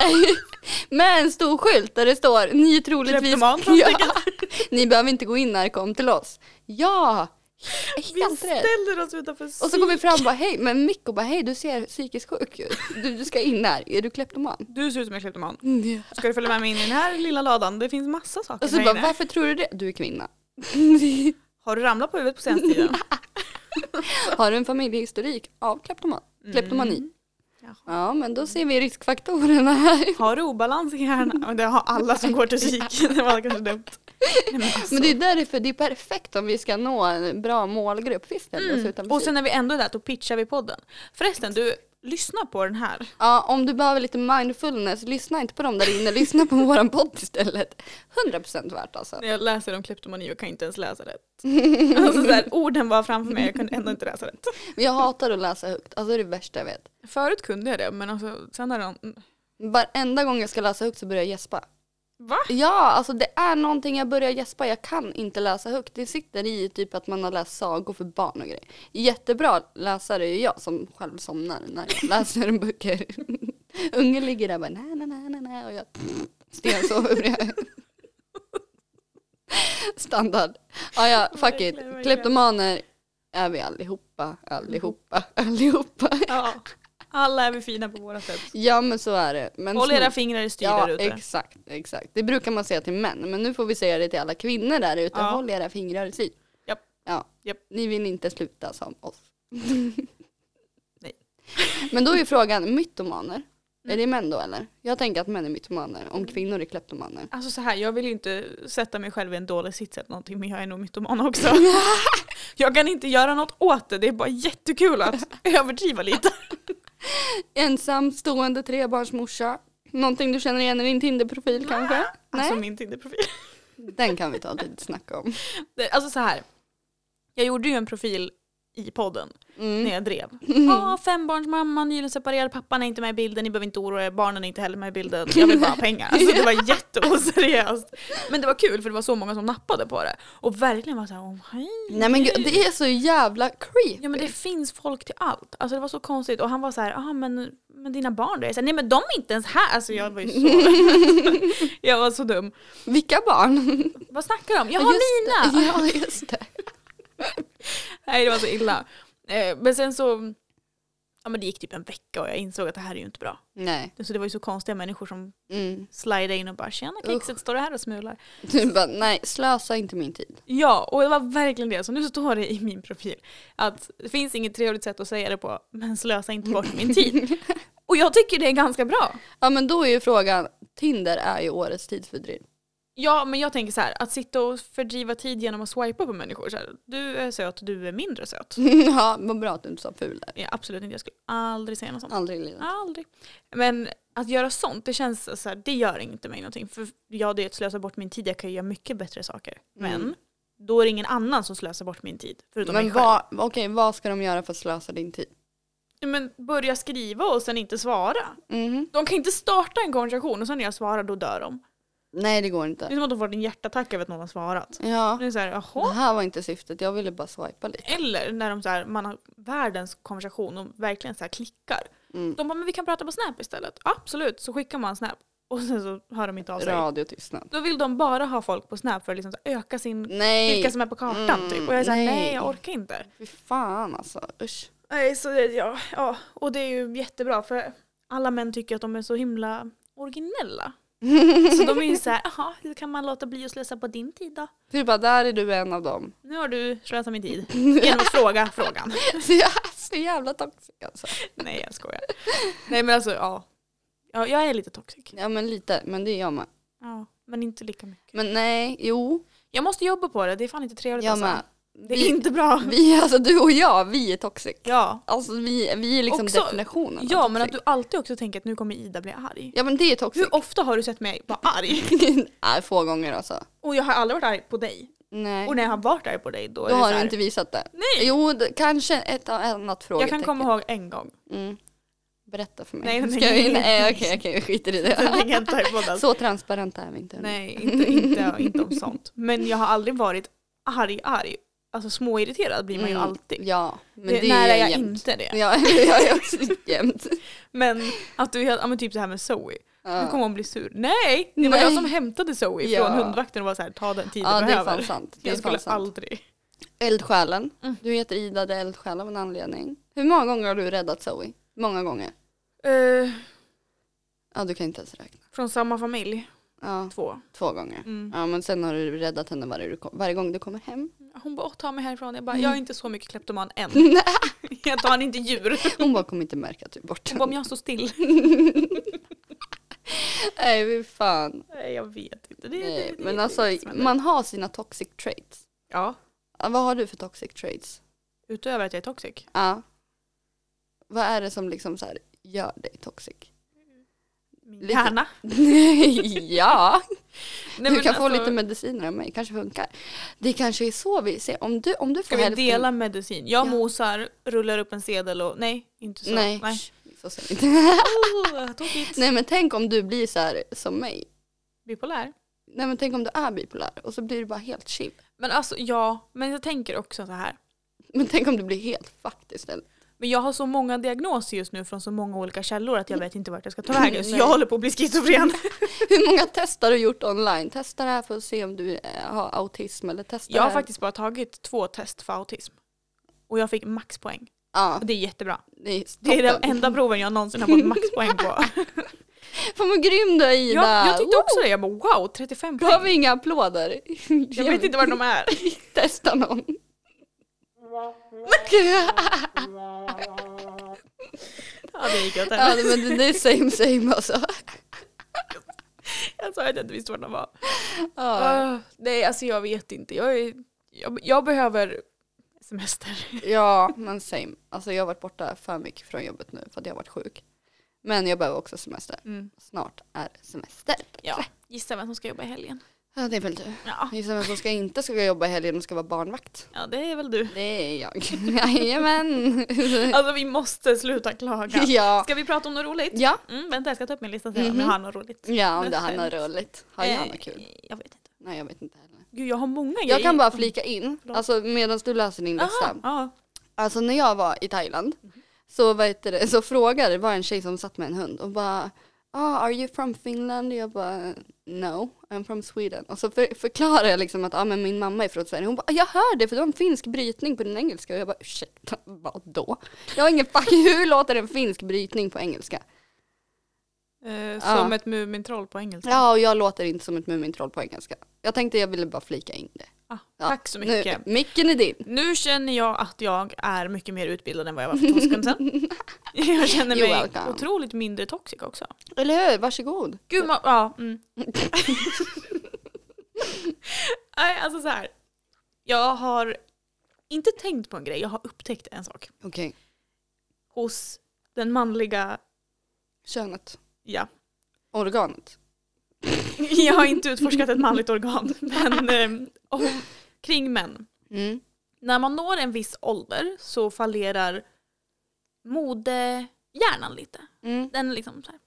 [SPEAKER 1] Med en stor skylt där det står ni är troligtvis...
[SPEAKER 2] Kleptoman,
[SPEAKER 1] ja, Ni behöver inte gå in när kom till oss. Ja!
[SPEAKER 2] Vi
[SPEAKER 1] Helt rätt.
[SPEAKER 2] ställer oss utanför
[SPEAKER 1] Och så går vi fram och bara hej, men Mikko bara hej du ser psykiskt sjuk ut. Du, du ska in här, är du kleptoman?
[SPEAKER 2] Du ser ut som en kleptoman. Ska du följa med mig in i den här lilla ladan? Det finns massa saker
[SPEAKER 1] Och så
[SPEAKER 2] här
[SPEAKER 1] bara
[SPEAKER 2] inne.
[SPEAKER 1] varför tror du det? Du är kvinna.
[SPEAKER 2] Har du ramlat på huvudet på senaste tiden?
[SPEAKER 1] Har du en familjehistorik av kleptoman?
[SPEAKER 2] Mm.
[SPEAKER 1] kleptomani?
[SPEAKER 2] Jaha.
[SPEAKER 1] Ja men då ser vi riskfaktorerna här.
[SPEAKER 2] Har du obalans i hjärnan? Och Det har alla som går till psyk. Det var kanske dumt. Nej, men alltså.
[SPEAKER 1] Men det är därför det är perfekt om vi ska nå en bra målgrupp. Vi ställer oss utanför
[SPEAKER 2] Mm. Och sen när vi ändå är där, då pitchar vi podden. Förresten, du, lyssna på den här.
[SPEAKER 1] Ja, om du behöver lite mindfulness, lyssna inte på dem där inne, lyssna på våran podd istället. 100% värt alltså.
[SPEAKER 2] När jag läser om kleptomani och kan inte ens läsa rätt. Alltså, så här, orden var framför mig, jag kunde ändå inte läsa rätt.
[SPEAKER 1] Men jag hatar att läsa högt, alltså det är det värsta jag vet.
[SPEAKER 2] Förut kunde jag det, men alltså, sen har de...
[SPEAKER 1] Varenda gång jag ska läsa högt så börjar jag gäspa.
[SPEAKER 2] Va?
[SPEAKER 1] Ja, alltså det är någonting jag börjar gäspa, jag kan inte läsa högt. Det sitter i typ att man har läst sagor för barn och grejer. Jättebra läsare är jag som själv somnar när jag läser böcker. Ungen ligger där och bara nej, nej, nej, nej, nej och jag stensover bredvid. Standard. Ja, ja, fuck it.
[SPEAKER 2] Verkligen, verkligen.
[SPEAKER 1] Kleptomaner är vi allihopa, allihopa, allihopa.
[SPEAKER 2] Ja. Alla är vi fina på våra sätt.
[SPEAKER 1] Ja, men så är det. Men
[SPEAKER 2] Håll
[SPEAKER 1] snor-
[SPEAKER 2] era fingrar i styr
[SPEAKER 1] Ja,
[SPEAKER 2] där ute.
[SPEAKER 1] exakt, exakt. Det brukar man säga till män, men nu får vi säga det till alla kvinnor där ute.
[SPEAKER 2] Ja.
[SPEAKER 1] Håll era fingrar i styr.
[SPEAKER 2] Japp.
[SPEAKER 1] Ja.
[SPEAKER 2] Japp.
[SPEAKER 1] Ni vill inte sluta som oss.
[SPEAKER 2] Nej. Mm.
[SPEAKER 1] Men då är ju frågan, mytomaner, är det män då eller? Jag tänker att män är mytomaner, om kvinnor är kleptomaner.
[SPEAKER 2] Alltså så här, jag vill ju inte sätta mig själv i en dålig sits eller någonting men jag är nog mytoman också. jag kan inte göra något åt det, det är bara jättekul att överdriva lite.
[SPEAKER 1] Ensamstående trebarnsmorsa. Någonting du känner igen i din Tinder-profil kanske?
[SPEAKER 2] Alltså
[SPEAKER 1] Nej,
[SPEAKER 2] min Tinder-profil.
[SPEAKER 1] den kan vi ta ett litet snack om.
[SPEAKER 2] Det- Alltså så här, jag gjorde ju en profil i podden när
[SPEAKER 1] Mm.
[SPEAKER 2] jag drev. Ja, fembarnsmamman, nyligen separerad, pappan är inte med i bilden, ni behöver inte oroa er, barnen är inte heller med i bilden, jag vill bara ha pengar. Alltså det var jätteoseriöst. Men det var kul för det var så många som nappade på det. Och verkligen var såhär, oh, hej.
[SPEAKER 1] Nej men gud, det är så jävla creepy.
[SPEAKER 2] Ja men det finns folk till allt. Alltså det var så konstigt. Och han var så här, ah, men, men dina barn då? Jag sa, nej men de är inte ens här. Alltså jag var ju så, jag var så dum.
[SPEAKER 1] Vilka barn?
[SPEAKER 2] Vad snackar de? Jag har
[SPEAKER 1] Just
[SPEAKER 2] mina!
[SPEAKER 1] det. Ja, just det.
[SPEAKER 2] Nej det var så illa. Eh, men sen så, ja men det gick typ en vecka och jag insåg att det här är ju inte bra.
[SPEAKER 1] Nej.
[SPEAKER 2] Så det var ju så konstiga människor som
[SPEAKER 1] Mm.
[SPEAKER 2] slida in och bara tjena kexet, står du här och smular?
[SPEAKER 1] Du bara, nej slösa inte min tid.
[SPEAKER 2] Ja, och det var verkligen det. Så nu står det i min profil att det finns inget trevligt sätt att säga det på, men slösa inte bort min tid. Och jag tycker det är ganska bra.
[SPEAKER 1] Ja men då är ju frågan, Tinder är ju årets tidsfördriv.
[SPEAKER 2] Ja, men jag tänker så här, att sitta och fördriva tid genom att swipa på människor. Så här, du är söt, du är mindre söt.
[SPEAKER 1] ja, vad bra att du inte sa ful där.
[SPEAKER 2] Ja, absolut inte, jag skulle aldrig säga något sånt.
[SPEAKER 1] Aldrig i livet.
[SPEAKER 2] Aldrig. Men att göra sånt, det känns så här, det gör inte mig någonting. För ja, det är att slösa bort min tid, jag kan ju göra mycket bättre saker. Men
[SPEAKER 1] Mm.
[SPEAKER 2] då är det ingen annan som slösar bort min tid, förutom mig
[SPEAKER 1] Men
[SPEAKER 2] själv.
[SPEAKER 1] vad, okej, vad ska de göra för att slösa din tid?
[SPEAKER 2] Men börja skriva och sen inte svara.
[SPEAKER 1] Mhm.
[SPEAKER 2] De kan inte starta en konversation och sen när jag svarar då dör de.
[SPEAKER 1] Nej det går
[SPEAKER 2] Det är
[SPEAKER 1] inte.
[SPEAKER 2] som att de får en hjärtattack över att någon har svarat.
[SPEAKER 1] Ja.
[SPEAKER 2] Det är så här,
[SPEAKER 1] Det
[SPEAKER 2] jaha?
[SPEAKER 1] här var inte syftet, jag ville bara swipa lite.
[SPEAKER 2] Eller när de så här, man har världens konversation och verkligen så här klickar.
[SPEAKER 1] Mm.
[SPEAKER 2] De bara, men vi kan prata på Snap istället. Absolut, så skickar man Snap. Och sen så hör de inte av sig.
[SPEAKER 1] Radiotystnad.
[SPEAKER 2] Då vill de bara ha folk på Snap för att liksom så här öka sin,
[SPEAKER 1] Nej.
[SPEAKER 2] vilka som är på kartan
[SPEAKER 1] Mm,
[SPEAKER 2] typ. Och jag är såhär,
[SPEAKER 1] nej.
[SPEAKER 2] nej. jag orkar inte.
[SPEAKER 1] Fy fan alltså, usch.
[SPEAKER 2] Nej, så det, ja, ja. Och det är ju jättebra för alla män tycker att de är så himla originella. Så de är ju såhär, jaha, hur kan man låta bli att slösa på din tid då?
[SPEAKER 1] Du bara, där är du en av dem.
[SPEAKER 2] Nu har du slösat min tid genom att fråga frågan.
[SPEAKER 1] Så jag är så jävla toxic alltså.
[SPEAKER 2] Nej, jag skojar. Nej men alltså, ja. ja jag är lite toxic.
[SPEAKER 1] Ja men lite, men det är jag med.
[SPEAKER 2] Ja, men inte lika mycket.
[SPEAKER 1] Men nej, jo,
[SPEAKER 2] Jag måste jobba på det, det är fan inte trevligt
[SPEAKER 1] jag
[SPEAKER 2] alltså.
[SPEAKER 1] med.
[SPEAKER 2] Det är
[SPEAKER 1] Vi-
[SPEAKER 2] inte bra.
[SPEAKER 1] Vi, alltså du och jag, vi är toxic.
[SPEAKER 2] Ja.
[SPEAKER 1] Alltså vi, vi är liksom
[SPEAKER 2] Också-
[SPEAKER 1] definitionen av
[SPEAKER 2] ja, men att
[SPEAKER 1] toxic.
[SPEAKER 2] du alltid också tänker att nu kommer Ida bli arg.
[SPEAKER 1] Ja men det är toxic.
[SPEAKER 2] Hur ofta har du sett mig vara arg?
[SPEAKER 1] nej, få gånger alltså.
[SPEAKER 2] Och jag har aldrig varit arg på dig.
[SPEAKER 1] Nej.
[SPEAKER 2] Och när jag har varit arg på dig då, är
[SPEAKER 1] Då
[SPEAKER 2] det
[SPEAKER 1] har
[SPEAKER 2] så
[SPEAKER 1] du
[SPEAKER 2] här,
[SPEAKER 1] inte visat det.
[SPEAKER 2] Nej!
[SPEAKER 1] Jo, det, kanske ett av- annat
[SPEAKER 2] Jag
[SPEAKER 1] frågetecken.
[SPEAKER 2] kan komma ihåg en gång.
[SPEAKER 1] Mm. Berätta för mig.
[SPEAKER 2] Nej, nej,
[SPEAKER 1] Ska vi,
[SPEAKER 2] nej.
[SPEAKER 1] nej okej, okej, vi skiter i
[SPEAKER 2] Den
[SPEAKER 1] det.
[SPEAKER 2] tänker jag inte ta i podden.
[SPEAKER 1] Så transparenta är vi inte.
[SPEAKER 2] Nej, inte, inte, inte om sånt. Men jag har aldrig varit arg, arg. Alltså småirriterad blir man ju
[SPEAKER 1] Mm,
[SPEAKER 2] alltid.
[SPEAKER 1] Ja, men det,
[SPEAKER 2] när
[SPEAKER 1] är
[SPEAKER 2] är jag
[SPEAKER 1] jämt.
[SPEAKER 2] inte det?
[SPEAKER 1] Ja, jag är också jämt.
[SPEAKER 2] Men att du, är helt- ja, men typ så här med Zoe. Nu
[SPEAKER 1] Ja.
[SPEAKER 2] kommer hon bli sur. Nej! Det var
[SPEAKER 1] Nej.
[SPEAKER 2] jag som hämtade Zoe
[SPEAKER 1] Ja.
[SPEAKER 2] från hundvakten och var så här, ta den tid du
[SPEAKER 1] ja, det är
[SPEAKER 2] behöver.
[SPEAKER 1] fan sant. Det är
[SPEAKER 2] jag skulle
[SPEAKER 1] fan sant.
[SPEAKER 2] aldrig.
[SPEAKER 1] Eldsjälen.
[SPEAKER 2] Mm.
[SPEAKER 1] Du heter Ida, det är eldsjäl av en anledning. Hur många gånger har du räddat Zoe? Många gånger?
[SPEAKER 2] Eh,
[SPEAKER 1] Ja, du kan inte ens räkna.
[SPEAKER 2] från samma familj,
[SPEAKER 1] Ja,
[SPEAKER 2] två.
[SPEAKER 1] två gånger.
[SPEAKER 2] Mm.
[SPEAKER 1] Ja, men sen har du räddat henne varje, du kom, varje gång du kommer hem.
[SPEAKER 2] Hon bara, "Åh, ta mig härifrån. Jag bara,
[SPEAKER 1] Mm.
[SPEAKER 2] jag är inte så mycket kleptoman än. jag tar inte djur.
[SPEAKER 1] Hon bara kommer inte märka att du är borta.
[SPEAKER 2] Hon bara, om jag står still.
[SPEAKER 1] Nej, fy fan.
[SPEAKER 2] Nej, jag vet inte. Det,
[SPEAKER 1] Nej,
[SPEAKER 2] det, det,
[SPEAKER 1] men
[SPEAKER 2] det,
[SPEAKER 1] alltså,
[SPEAKER 2] det som händer.
[SPEAKER 1] man har sina toxic traits.
[SPEAKER 2] Ja,
[SPEAKER 1] Ja, Vad har du för toxic traits?
[SPEAKER 2] utöver att jag är toxic.
[SPEAKER 1] Ja. Vad är det som liksom så här gör dig toxic?
[SPEAKER 2] Min
[SPEAKER 1] Lite-
[SPEAKER 2] hjärna.
[SPEAKER 1] ja,
[SPEAKER 2] Nej,
[SPEAKER 1] du
[SPEAKER 2] men
[SPEAKER 1] kan få
[SPEAKER 2] alltså,
[SPEAKER 1] lite mediciner av mig, kanske funkar. Det kanske är så vi ser, om du, om du får
[SPEAKER 2] Ska vi dela medicin? Jag
[SPEAKER 1] Ja.
[SPEAKER 2] mosar, rullar upp en sedel och nej, inte så.
[SPEAKER 1] Nej,
[SPEAKER 2] nej.
[SPEAKER 1] shh, så ser vi inte.
[SPEAKER 2] Oh, tokigt.
[SPEAKER 1] Nej men tänk om du blir så här som mig.
[SPEAKER 2] Bipolär.
[SPEAKER 1] Nej men tänk om du är bipolär och så blir du bara helt chill.
[SPEAKER 2] Men alltså ja, men jag tänker också så här.
[SPEAKER 1] Men tänk om du blir helt fucked istället.
[SPEAKER 2] Men jag har så många diagnoser just nu från så många olika källor att jag vet inte vart jag ska ta vägen. Så
[SPEAKER 1] Nej.
[SPEAKER 2] jag håller på att bli schizofren.
[SPEAKER 1] Hur många test har du gjort online? Testa det här för att se om du eh, har autism eller testa
[SPEAKER 2] Jag
[SPEAKER 1] det
[SPEAKER 2] har
[SPEAKER 1] här.
[SPEAKER 2] faktiskt bara tagit två test för autism. Och jag fick maxpoäng.
[SPEAKER 1] Ja,
[SPEAKER 2] Och det är jättebra.
[SPEAKER 1] det är,
[SPEAKER 2] Det är de
[SPEAKER 1] toppen.
[SPEAKER 2] enda proven jag någonsin har fått maxpoäng på.
[SPEAKER 1] Fan vad grym du är Ida!
[SPEAKER 2] Jag, jag tyckte
[SPEAKER 1] Wow,
[SPEAKER 2] också det. Jag bara wow, 35
[SPEAKER 1] Gav vi
[SPEAKER 2] poäng.
[SPEAKER 1] inga applåder?
[SPEAKER 2] Jag vet inte var de är.
[SPEAKER 1] testa någon.
[SPEAKER 2] Ja, det gick åt
[SPEAKER 1] Ja
[SPEAKER 2] helvete.
[SPEAKER 1] men det, det är same same alltså.
[SPEAKER 2] Jag sa att jag inte visste var de var.
[SPEAKER 1] Ja,
[SPEAKER 2] Ah, nej, alltså jag vet inte. Jag, är, jag, jag behöver semester.
[SPEAKER 1] ja men same. Alltså jag har varit borta för mycket från jobbet nu för att jag har varit sjuk.
[SPEAKER 2] Mm.
[SPEAKER 1] Men jag behöver också semester. Snart är semester.
[SPEAKER 2] Ja. Gissa vem som ska jobba i helgen.
[SPEAKER 1] Ja, det är väl du.
[SPEAKER 2] Ja.
[SPEAKER 1] Gissa vem som ska inte ska jobba i helgen och ska vara barnvakt.
[SPEAKER 2] ja, det är väl du.
[SPEAKER 1] Det är jag. Jajamän.
[SPEAKER 2] Alltså vi måste sluta klaga.
[SPEAKER 1] Eh. ja.
[SPEAKER 2] Ska vi prata om något roligt?
[SPEAKER 1] Ja.
[SPEAKER 2] Mm, vänta, jag ska ta upp min lista och se om
[SPEAKER 1] Mhm.
[SPEAKER 2] jag har något roligt.
[SPEAKER 1] Ja, om det han har roligt. Har jag något kul?
[SPEAKER 2] Eh, Jag vet inte.
[SPEAKER 1] Nej, jag vet inte heller.
[SPEAKER 2] Gud, jag har många grejer.
[SPEAKER 1] Jag kan bara flika in,
[SPEAKER 2] Förlåt.
[SPEAKER 1] alltså medan du läser din lista.
[SPEAKER 2] Aha, ja.
[SPEAKER 1] Alltså när jag var i Thailand så, vad heter det, så frågade det var en tjej som satt med en hund och bara ah “Are you from Finland?” och jag bara “No, I'm from Sweden”. Och så för, förklarade jag liksom att ah, men min mamma är från Sverige. Hon bara “Jag hör det för du har en finsk brytning på din engelska” och jag bara “Ursäkta, vadå?” Jag har ingen fucking hur låter en finsk brytning på engelska?
[SPEAKER 2] Eh,
[SPEAKER 1] Ja.
[SPEAKER 2] Som ett Mumintroll på engelska.
[SPEAKER 1] Ja, och jag låter inte som ett Mumintroll på engelska. Jag tänkte jag ville bara flika in det.
[SPEAKER 2] Ah,
[SPEAKER 1] Ja,
[SPEAKER 2] Tack så
[SPEAKER 1] Nu,
[SPEAKER 2] mycket.
[SPEAKER 1] micken är din.
[SPEAKER 2] Nu känner jag att jag är mycket mer utbildad än vad jag var för två sekunder sedan. Jag känner
[SPEAKER 1] You're
[SPEAKER 2] mig
[SPEAKER 1] welcome.
[SPEAKER 2] otroligt mindre toxic också.
[SPEAKER 1] Eller hur? Varsågod.
[SPEAKER 2] Gud, ma- ja. Mm. Nej, alltså så här. Jag har inte tänkt på en grej, jag har upptäckt en sak.
[SPEAKER 1] Okej,
[SPEAKER 2] Hos den manliga,
[SPEAKER 1] könet.
[SPEAKER 2] ja.
[SPEAKER 1] Organet.
[SPEAKER 2] Jag har inte utforskat ett manligt organ, men eh, om, kring män.
[SPEAKER 1] Mm.
[SPEAKER 2] När man når en viss ålder så fallerar modehjärnan lite.
[SPEAKER 1] Mm.
[SPEAKER 2] Den är liksom så här.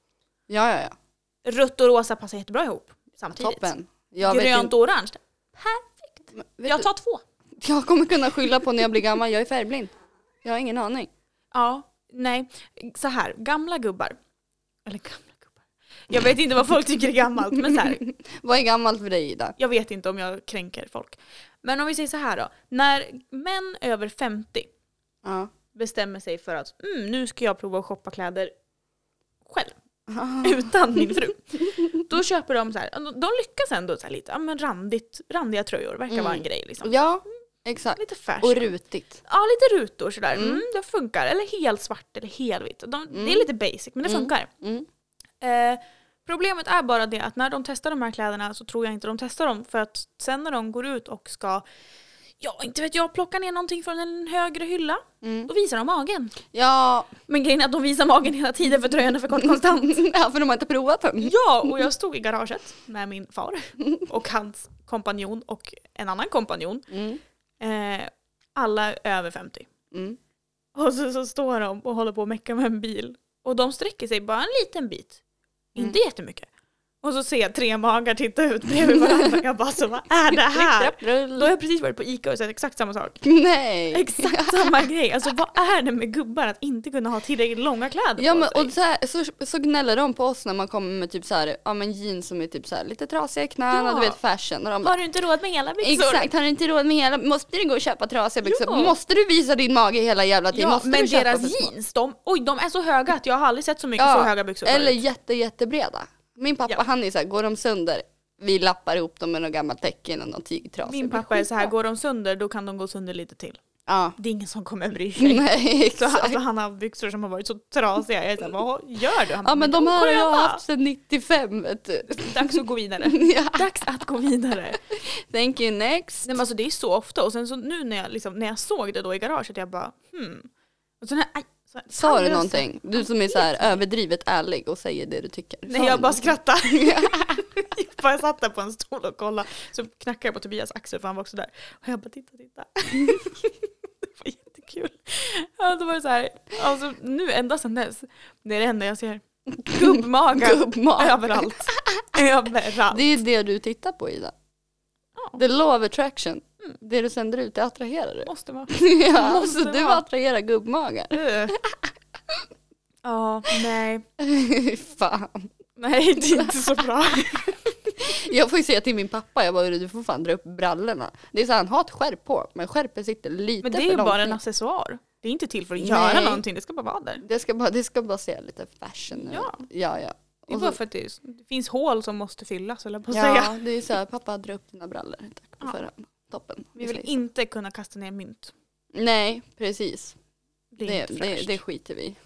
[SPEAKER 1] Ja, ja, ja.
[SPEAKER 2] Rött och rosa passar jättebra ihop samtidigt.
[SPEAKER 1] Toppen. Jag, vet
[SPEAKER 2] Grönt
[SPEAKER 1] inte,
[SPEAKER 2] och orange.
[SPEAKER 1] men vet
[SPEAKER 2] Jag tar två.
[SPEAKER 1] du, jag kommer kunna skylla på när jag blir gammal, jag är färgblind. Jag har ingen aning.
[SPEAKER 2] Ja, nej. Så här, gamla gubbar. Eller gamla gubbar. Jag vet inte vad folk tycker är gammalt, men så här,
[SPEAKER 1] Vad är gammalt för dig Ida?
[SPEAKER 2] jag vet inte om jag kränker folk. Men om vi säger så här då. När män över 50
[SPEAKER 1] Ja.
[SPEAKER 2] bestämmer sig för att mm, nu ska jag prova att shoppa kläder själv. Utan min fru. Då köper de så här, de lyckas ändå så här lite, ja men randigt, randiga tröjor verkar vara en
[SPEAKER 1] Mm.
[SPEAKER 2] grej liksom.
[SPEAKER 1] Ja, exakt.
[SPEAKER 2] Lite fashion.
[SPEAKER 1] Och rutigt.
[SPEAKER 2] Ja, lite rutor sådär.
[SPEAKER 1] Mm.
[SPEAKER 2] Mm. det funkar. Eller helt svart eller helvitt. De, Det är
[SPEAKER 1] Mm.
[SPEAKER 2] lite basic, men det
[SPEAKER 1] Mm.
[SPEAKER 2] funkar.
[SPEAKER 1] Mm.
[SPEAKER 2] Eh, problemet är bara det att när de testar de här kläderna så tror jag inte de testar dem. För att sen när de går ut och ska, ja inte vet jag, plocka ner någonting från en högre hylla,
[SPEAKER 1] Mm.
[SPEAKER 2] då visar de magen.
[SPEAKER 1] Ja.
[SPEAKER 2] Men grejen är att de visar magen hela tiden för tröjan är för kort konstant.
[SPEAKER 1] ja, för de har inte provat den.
[SPEAKER 2] Ja, och jag stod i garaget med min far och hans kompanjon och en annan kompanjon.
[SPEAKER 1] Mm.
[SPEAKER 2] Eh, alla över 50.
[SPEAKER 1] Mm.
[SPEAKER 2] Och så, så står de och håller på och mecka med en bil. Och de sträcker sig bara en liten bit.
[SPEAKER 1] Mm.
[SPEAKER 2] Inte jättemycket. Och så ser jag tre magar titta ut bredvid varandra. Jag bara så vad är det här?
[SPEAKER 1] Tryck,
[SPEAKER 2] Då
[SPEAKER 1] rull.
[SPEAKER 2] har jag precis varit på Ica och sett exakt samma sak.
[SPEAKER 1] Nej.
[SPEAKER 2] Exakt samma grej. Alltså vad är det med gubbar att inte kunna ha tillräckligt långa kläder
[SPEAKER 1] Ja
[SPEAKER 2] på
[SPEAKER 1] men
[SPEAKER 2] sig?
[SPEAKER 1] och så, här, så, så gnäller de på oss när man kommer med typ så här, ja men jeans som är typ så här lite trasiga i knäna,
[SPEAKER 2] Ja.
[SPEAKER 1] du vet fashion. Och de bara,
[SPEAKER 2] Har du inte råd med hela byxor?
[SPEAKER 1] Exakt, har du inte råd med hela, måste du gå och köpa trasiga byxor?
[SPEAKER 2] Ja.
[SPEAKER 1] Måste du visa din mage hela jävla tiden?
[SPEAKER 2] Ja,
[SPEAKER 1] måste
[SPEAKER 2] men
[SPEAKER 1] du köpa
[SPEAKER 2] deras
[SPEAKER 1] för små?
[SPEAKER 2] jeans, de, oj, de är så höga att jag har aldrig sett så mycket
[SPEAKER 1] Ja,
[SPEAKER 2] så höga byxor
[SPEAKER 1] Eller
[SPEAKER 2] förut.
[SPEAKER 1] jätte, jättebreda. Min pappa
[SPEAKER 2] Ja.
[SPEAKER 1] han är så här, går de sönder, vi lappar ihop dem med något gammalt täcke eller någon tygtrasa. Det
[SPEAKER 2] Min
[SPEAKER 1] blir
[SPEAKER 2] pappa är så här,
[SPEAKER 1] skitbra.
[SPEAKER 2] går de sönder då kan de gå sönder lite till.
[SPEAKER 1] Ja.
[SPEAKER 2] Det är ingen som kommer bry sig.
[SPEAKER 1] Nej,
[SPEAKER 2] Så, han-
[SPEAKER 1] exakt.
[SPEAKER 2] alltså, han har byxor som har varit så trasiga. Jag är så här, vad gör du? Han bara,
[SPEAKER 1] Ja men de här har jag
[SPEAKER 2] sköna."
[SPEAKER 1] haft sedan 95 vet du.
[SPEAKER 2] Dags att gå vidare.
[SPEAKER 1] Ja.
[SPEAKER 2] Dags att gå vidare. Nej,
[SPEAKER 1] Thank you next.
[SPEAKER 2] men alltså, det är så ofta. Och sen så nu när jag, liksom, när jag såg det då i garaget, jag bara hmm. Och så när, aj, så,
[SPEAKER 1] Sa du någonting? Du som är så här överdrivet ärlig och säger det du tycker. Sa
[SPEAKER 2] Nej
[SPEAKER 1] du
[SPEAKER 2] jag bara
[SPEAKER 1] någonting?
[SPEAKER 2] skrattade. jag bara satt där på en stol och kollade. Så knackade jag på Tobias axel för han var också där. Och jag bara titta titta. det var jättekul. Ja, då var det så här. Alltså nu ända sedan dess. Det är det enda jag ser. Gubbmaga.
[SPEAKER 1] Gubbmage.
[SPEAKER 2] Överallt. Överallt.
[SPEAKER 1] Det är det du tittar på Ida.
[SPEAKER 2] Ja.
[SPEAKER 1] The law of attraction. Det du sänder ut, det attraherar du.
[SPEAKER 2] måste vara.
[SPEAKER 1] ja,
[SPEAKER 2] måste
[SPEAKER 1] så du
[SPEAKER 2] vara.
[SPEAKER 1] attraherar gubbmagar.
[SPEAKER 2] Ugh. Ja, nej.
[SPEAKER 1] fan.
[SPEAKER 2] Nej, det är inte så bra.
[SPEAKER 1] Jag får ju säga till min pappa, jag bara du får fan dra upp brallorna. Det är så här, han har ett skärp på, men skärpet sitter lite
[SPEAKER 2] Men
[SPEAKER 1] för
[SPEAKER 2] det är ju
[SPEAKER 1] långt
[SPEAKER 2] bara en
[SPEAKER 1] ner.
[SPEAKER 2] accessoar. Det är inte till för att göra
[SPEAKER 1] Nej.
[SPEAKER 2] någonting, det ska bara vara där.
[SPEAKER 1] det ska, bara, det ska bara se lite fashion ut.
[SPEAKER 2] Ja.
[SPEAKER 1] ja. ja.
[SPEAKER 2] Det är
[SPEAKER 1] Och
[SPEAKER 2] bara
[SPEAKER 1] så,
[SPEAKER 2] för att det, det finns hål som måste fyllas, eller på att säga.
[SPEAKER 1] Alltså- ja, det är så här, pappa dra upp dina brallor. Tack
[SPEAKER 2] Ja.
[SPEAKER 1] för förhand. Toppen.
[SPEAKER 2] Vi vill
[SPEAKER 1] säger så.
[SPEAKER 2] inte kunna kasta ner mynt.
[SPEAKER 1] Nej, precis.
[SPEAKER 2] Det är
[SPEAKER 1] Det,
[SPEAKER 2] inte
[SPEAKER 1] det,
[SPEAKER 2] fräscht.
[SPEAKER 1] det skiter vi i.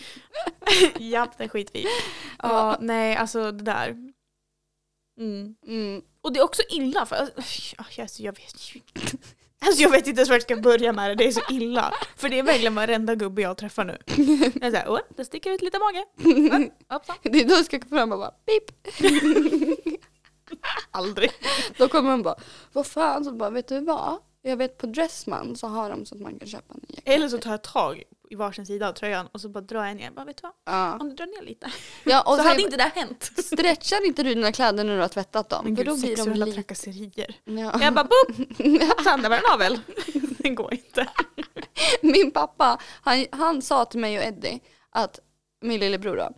[SPEAKER 2] Mm. Japp, det skiter vi i. Ja, nej, alltså det där. Mm.
[SPEAKER 1] Mm.
[SPEAKER 2] Och det är också illa för... Alltså, jag vet ju inte. Alltså jag vet inte ens vart jag ska börja med det, det är så illa. För det är verkligen varenda gubbe jag träffar nu. Jag är såhär, åh, det sticker ut lite mage. Hoppsan.
[SPEAKER 1] Det är då jag ska gå fram och bara pip.
[SPEAKER 2] Aldrig.
[SPEAKER 1] Då kommer hon bara, vad fan, så bara, vet du vad? Jag vet på Dressman så har de så att man kan köpa en jacka.
[SPEAKER 2] Eller så tar jag tag i varsin sida av tröjan och så bara drar jag ner. Jag bara, vet du vad?
[SPEAKER 1] Ja.
[SPEAKER 2] Om du drar ner lite.
[SPEAKER 1] Ja, och
[SPEAKER 2] så
[SPEAKER 1] så
[SPEAKER 2] hade inte det här hänt.
[SPEAKER 1] Stretchar inte du dina kläder när du har tvättat dem?
[SPEAKER 2] Men
[SPEAKER 1] För
[SPEAKER 2] gud,
[SPEAKER 1] då blir de
[SPEAKER 2] sexuella
[SPEAKER 1] lite...
[SPEAKER 2] trakasserier.
[SPEAKER 1] Ja.
[SPEAKER 2] Jag bara boop! Sandra var en avel. Det går inte.
[SPEAKER 1] Min pappa, han, han sa till mig och Eddie, att, min lillebror då,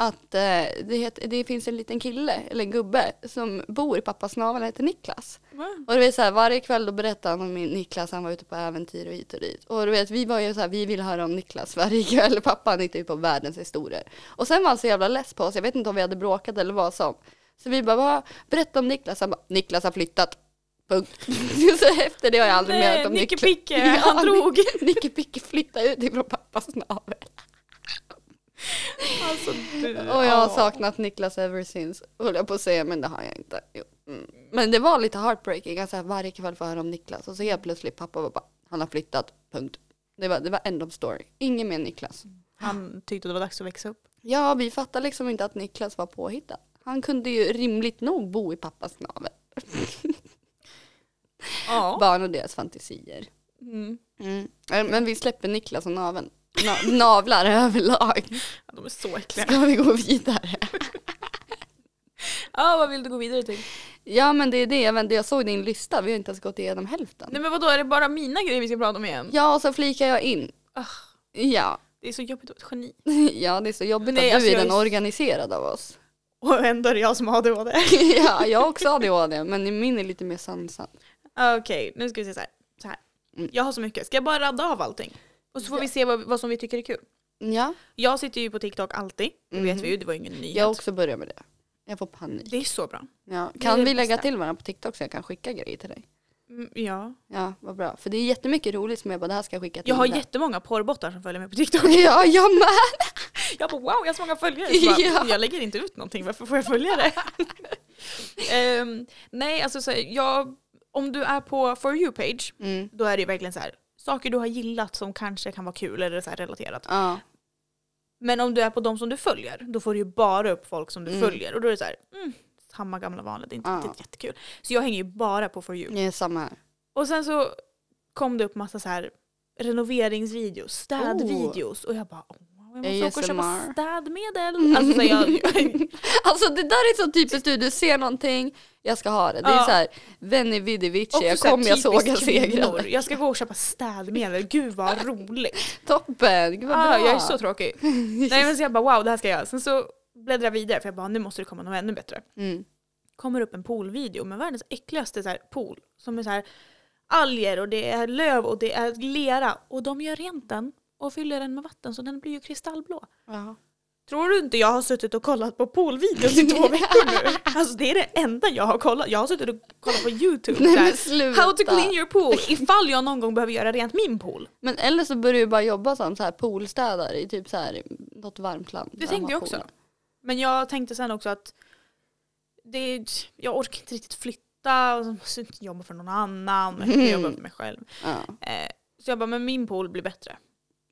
[SPEAKER 1] att eh, det, heter, det finns en liten kille, eller en gubbe, som bor i pappas navel, han heter Niklas. Och du vet så här, varje kväll då berättade han om min Niklas, han var ute på äventyr och hit och dit. Och du vet, vi var ju så här, vi ville höra om Niklas varje kväll. Pappa han hittade ju på världens historier. Och sen var han så jävla less på oss, jag vet inte om vi hade bråkat eller vad som. Så vi bara, "Va? berätta om Niklas. Han bara, Niklas har flyttat. Punkt. så efter det har jag aldrig mer hört om
[SPEAKER 2] Nicke
[SPEAKER 1] Niklas.
[SPEAKER 2] Picke, han drog.
[SPEAKER 1] Nicke Picke flyttade ut ifrån pappas navel.
[SPEAKER 2] Alltså, du,
[SPEAKER 1] Och jag har
[SPEAKER 2] ja.
[SPEAKER 1] saknat Niklas ever since, höll jag på att säga, men det har jag inte. Jo. Mm. Men det var lite heartbreaking, alltså, varje kväll får jag höra om Niklas och så helt plötsligt pappa var bara, han har flyttat, punkt. Det var, det var end of story, ingen mer Niklas.
[SPEAKER 2] Mm. Han tyckte det var dags att växa upp.
[SPEAKER 1] Ja, vi fattar liksom inte att Niklas var påhittad. Han kunde ju rimligt nog bo i pappas navel.
[SPEAKER 2] Ja.
[SPEAKER 1] Barn och deras fantasier.
[SPEAKER 2] Mm.
[SPEAKER 1] Mm. Eh, Men vi släpper Niklas och naveln. Na- navlar överlag.
[SPEAKER 2] Ja, De är så äckliga.
[SPEAKER 1] Ska vi gå vidare?
[SPEAKER 2] Ja, vad vill du gå vidare till?
[SPEAKER 1] Ja men det är det, jag vände- jag såg din lista, vi har inte ens gått igenom hälften.
[SPEAKER 2] Nej men vadå, är det bara mina grejer vi ska prata om igen?
[SPEAKER 1] Ja, och så flikar jag in.
[SPEAKER 2] Ah,
[SPEAKER 1] Ja,
[SPEAKER 2] det är så jobbigt att vara ett geni.
[SPEAKER 1] ja det är så jobbigt
[SPEAKER 2] Nej,
[SPEAKER 1] att du
[SPEAKER 2] alltså,
[SPEAKER 1] är
[SPEAKER 2] jag
[SPEAKER 1] den
[SPEAKER 2] är s-
[SPEAKER 1] organiserade av oss.
[SPEAKER 2] Och ändå är det jag som har ADHD.
[SPEAKER 1] ja, jag har också ADHD, men min är lite mer sansad.
[SPEAKER 2] Ah, Okej, nu ska vi se så här. Så här.
[SPEAKER 1] Mm.
[SPEAKER 2] Jag har så mycket, ska jag bara radda av allting? Och så får
[SPEAKER 1] Ja.
[SPEAKER 2] vi se vad, vad som vi tycker är kul.
[SPEAKER 1] Ja,
[SPEAKER 2] Jag sitter ju på TikTok alltid, det vet
[SPEAKER 1] Mhm.
[SPEAKER 2] vi ju, det var ju ingen nyhet.
[SPEAKER 1] jag också börjar med det. Jag får panik.
[SPEAKER 2] Det är så bra.
[SPEAKER 1] Ja.
[SPEAKER 2] Det är
[SPEAKER 1] Kan
[SPEAKER 2] det
[SPEAKER 1] vi lägga
[SPEAKER 2] bästa.
[SPEAKER 1] till varandra på TikTok så jag kan skicka grejer till dig?
[SPEAKER 2] Mm, ja.
[SPEAKER 1] Ja, vad bra. För det är jättemycket roligt som jag bara, det här ska jag skicka till
[SPEAKER 2] Jag har
[SPEAKER 1] dig.
[SPEAKER 2] jättemånga porrbottar som följer mig på TikTok.
[SPEAKER 1] Ja, jag med!
[SPEAKER 2] Jag bara wow, jag har så många följare. Så bara,
[SPEAKER 1] Ja.
[SPEAKER 2] Jag lägger inte ut någonting, varför får jag följare? Ehm, nej, alltså så här, jag, om du är på For You-page,
[SPEAKER 1] Mm.
[SPEAKER 2] då är det ju verkligen så här, saker du har gillat som kanske kan vara kul eller så här relaterat.
[SPEAKER 1] Ja.
[SPEAKER 2] Men om du är på de som du följer, då får du ju bara upp folk som du
[SPEAKER 1] Mm.
[SPEAKER 2] följer. Och då är det så här, mm, samma gamla vanliga, det är inte
[SPEAKER 1] Ja.
[SPEAKER 2] riktigt jättekul. Så jag hänger ju bara på For You.
[SPEAKER 1] Det är samma här.
[SPEAKER 2] Och sen så kom det upp massa så här renoveringsvideos, städvideos. Och jag bara, oh, wow, jag måste åka och köpa
[SPEAKER 1] ASMR.
[SPEAKER 2] städmedel. Alltså så här, jag,
[SPEAKER 1] Alltså det där är så typiskt du, du ser någonting, jag ska ha det. Det är
[SPEAKER 2] Ja.
[SPEAKER 1] så här, Veni Vidi Vici,
[SPEAKER 2] Också
[SPEAKER 1] jag
[SPEAKER 2] så här
[SPEAKER 1] kom, jag
[SPEAKER 2] typiskt
[SPEAKER 1] såg, jag
[SPEAKER 2] kvinnor.
[SPEAKER 1] segrade.
[SPEAKER 2] Jag ska gå och köpa städmedel, gud vad roligt.
[SPEAKER 1] Toppen, gud vad bra.
[SPEAKER 2] ah, jag är så tråkig. Nej men så jag bara wow det här ska jag göra. Sen så bläddrar jag vidare för jag bara nu måste det komma något ännu bättre.
[SPEAKER 1] Mm.
[SPEAKER 2] Kommer upp en poolvideo med världens äckligaste så här, pool. Som är så här alger och det är löv och det är lera. Och de gör rent den och fyller den med vatten så den blir ju kristallblå.
[SPEAKER 1] Ja.
[SPEAKER 2] Tror du inte jag har suttit och kollat på poolvideos i två veckor nu? Alltså det är det enda jag har kollat. Jag har suttit och kollat på YouTube.
[SPEAKER 1] Nej,
[SPEAKER 2] så här,
[SPEAKER 1] men sluta.
[SPEAKER 2] How to clean your pool ifall jag någon gång behöver göra rent min pool.
[SPEAKER 1] Men eller så börjar du bara jobba som så här poolstädare i typ så här något varmt land.
[SPEAKER 2] Det
[SPEAKER 1] där
[SPEAKER 2] tänkte
[SPEAKER 1] man
[SPEAKER 2] jag
[SPEAKER 1] har
[SPEAKER 2] också.
[SPEAKER 1] poolen.
[SPEAKER 2] Men jag tänkte sen också att det, är- jag orkar inte riktigt flytta och så måste jag inte jobba för någon annan. Jag kan jobba för mig själv.
[SPEAKER 1] Ja.
[SPEAKER 2] Eh, Så jag bara, men min pool blir bättre.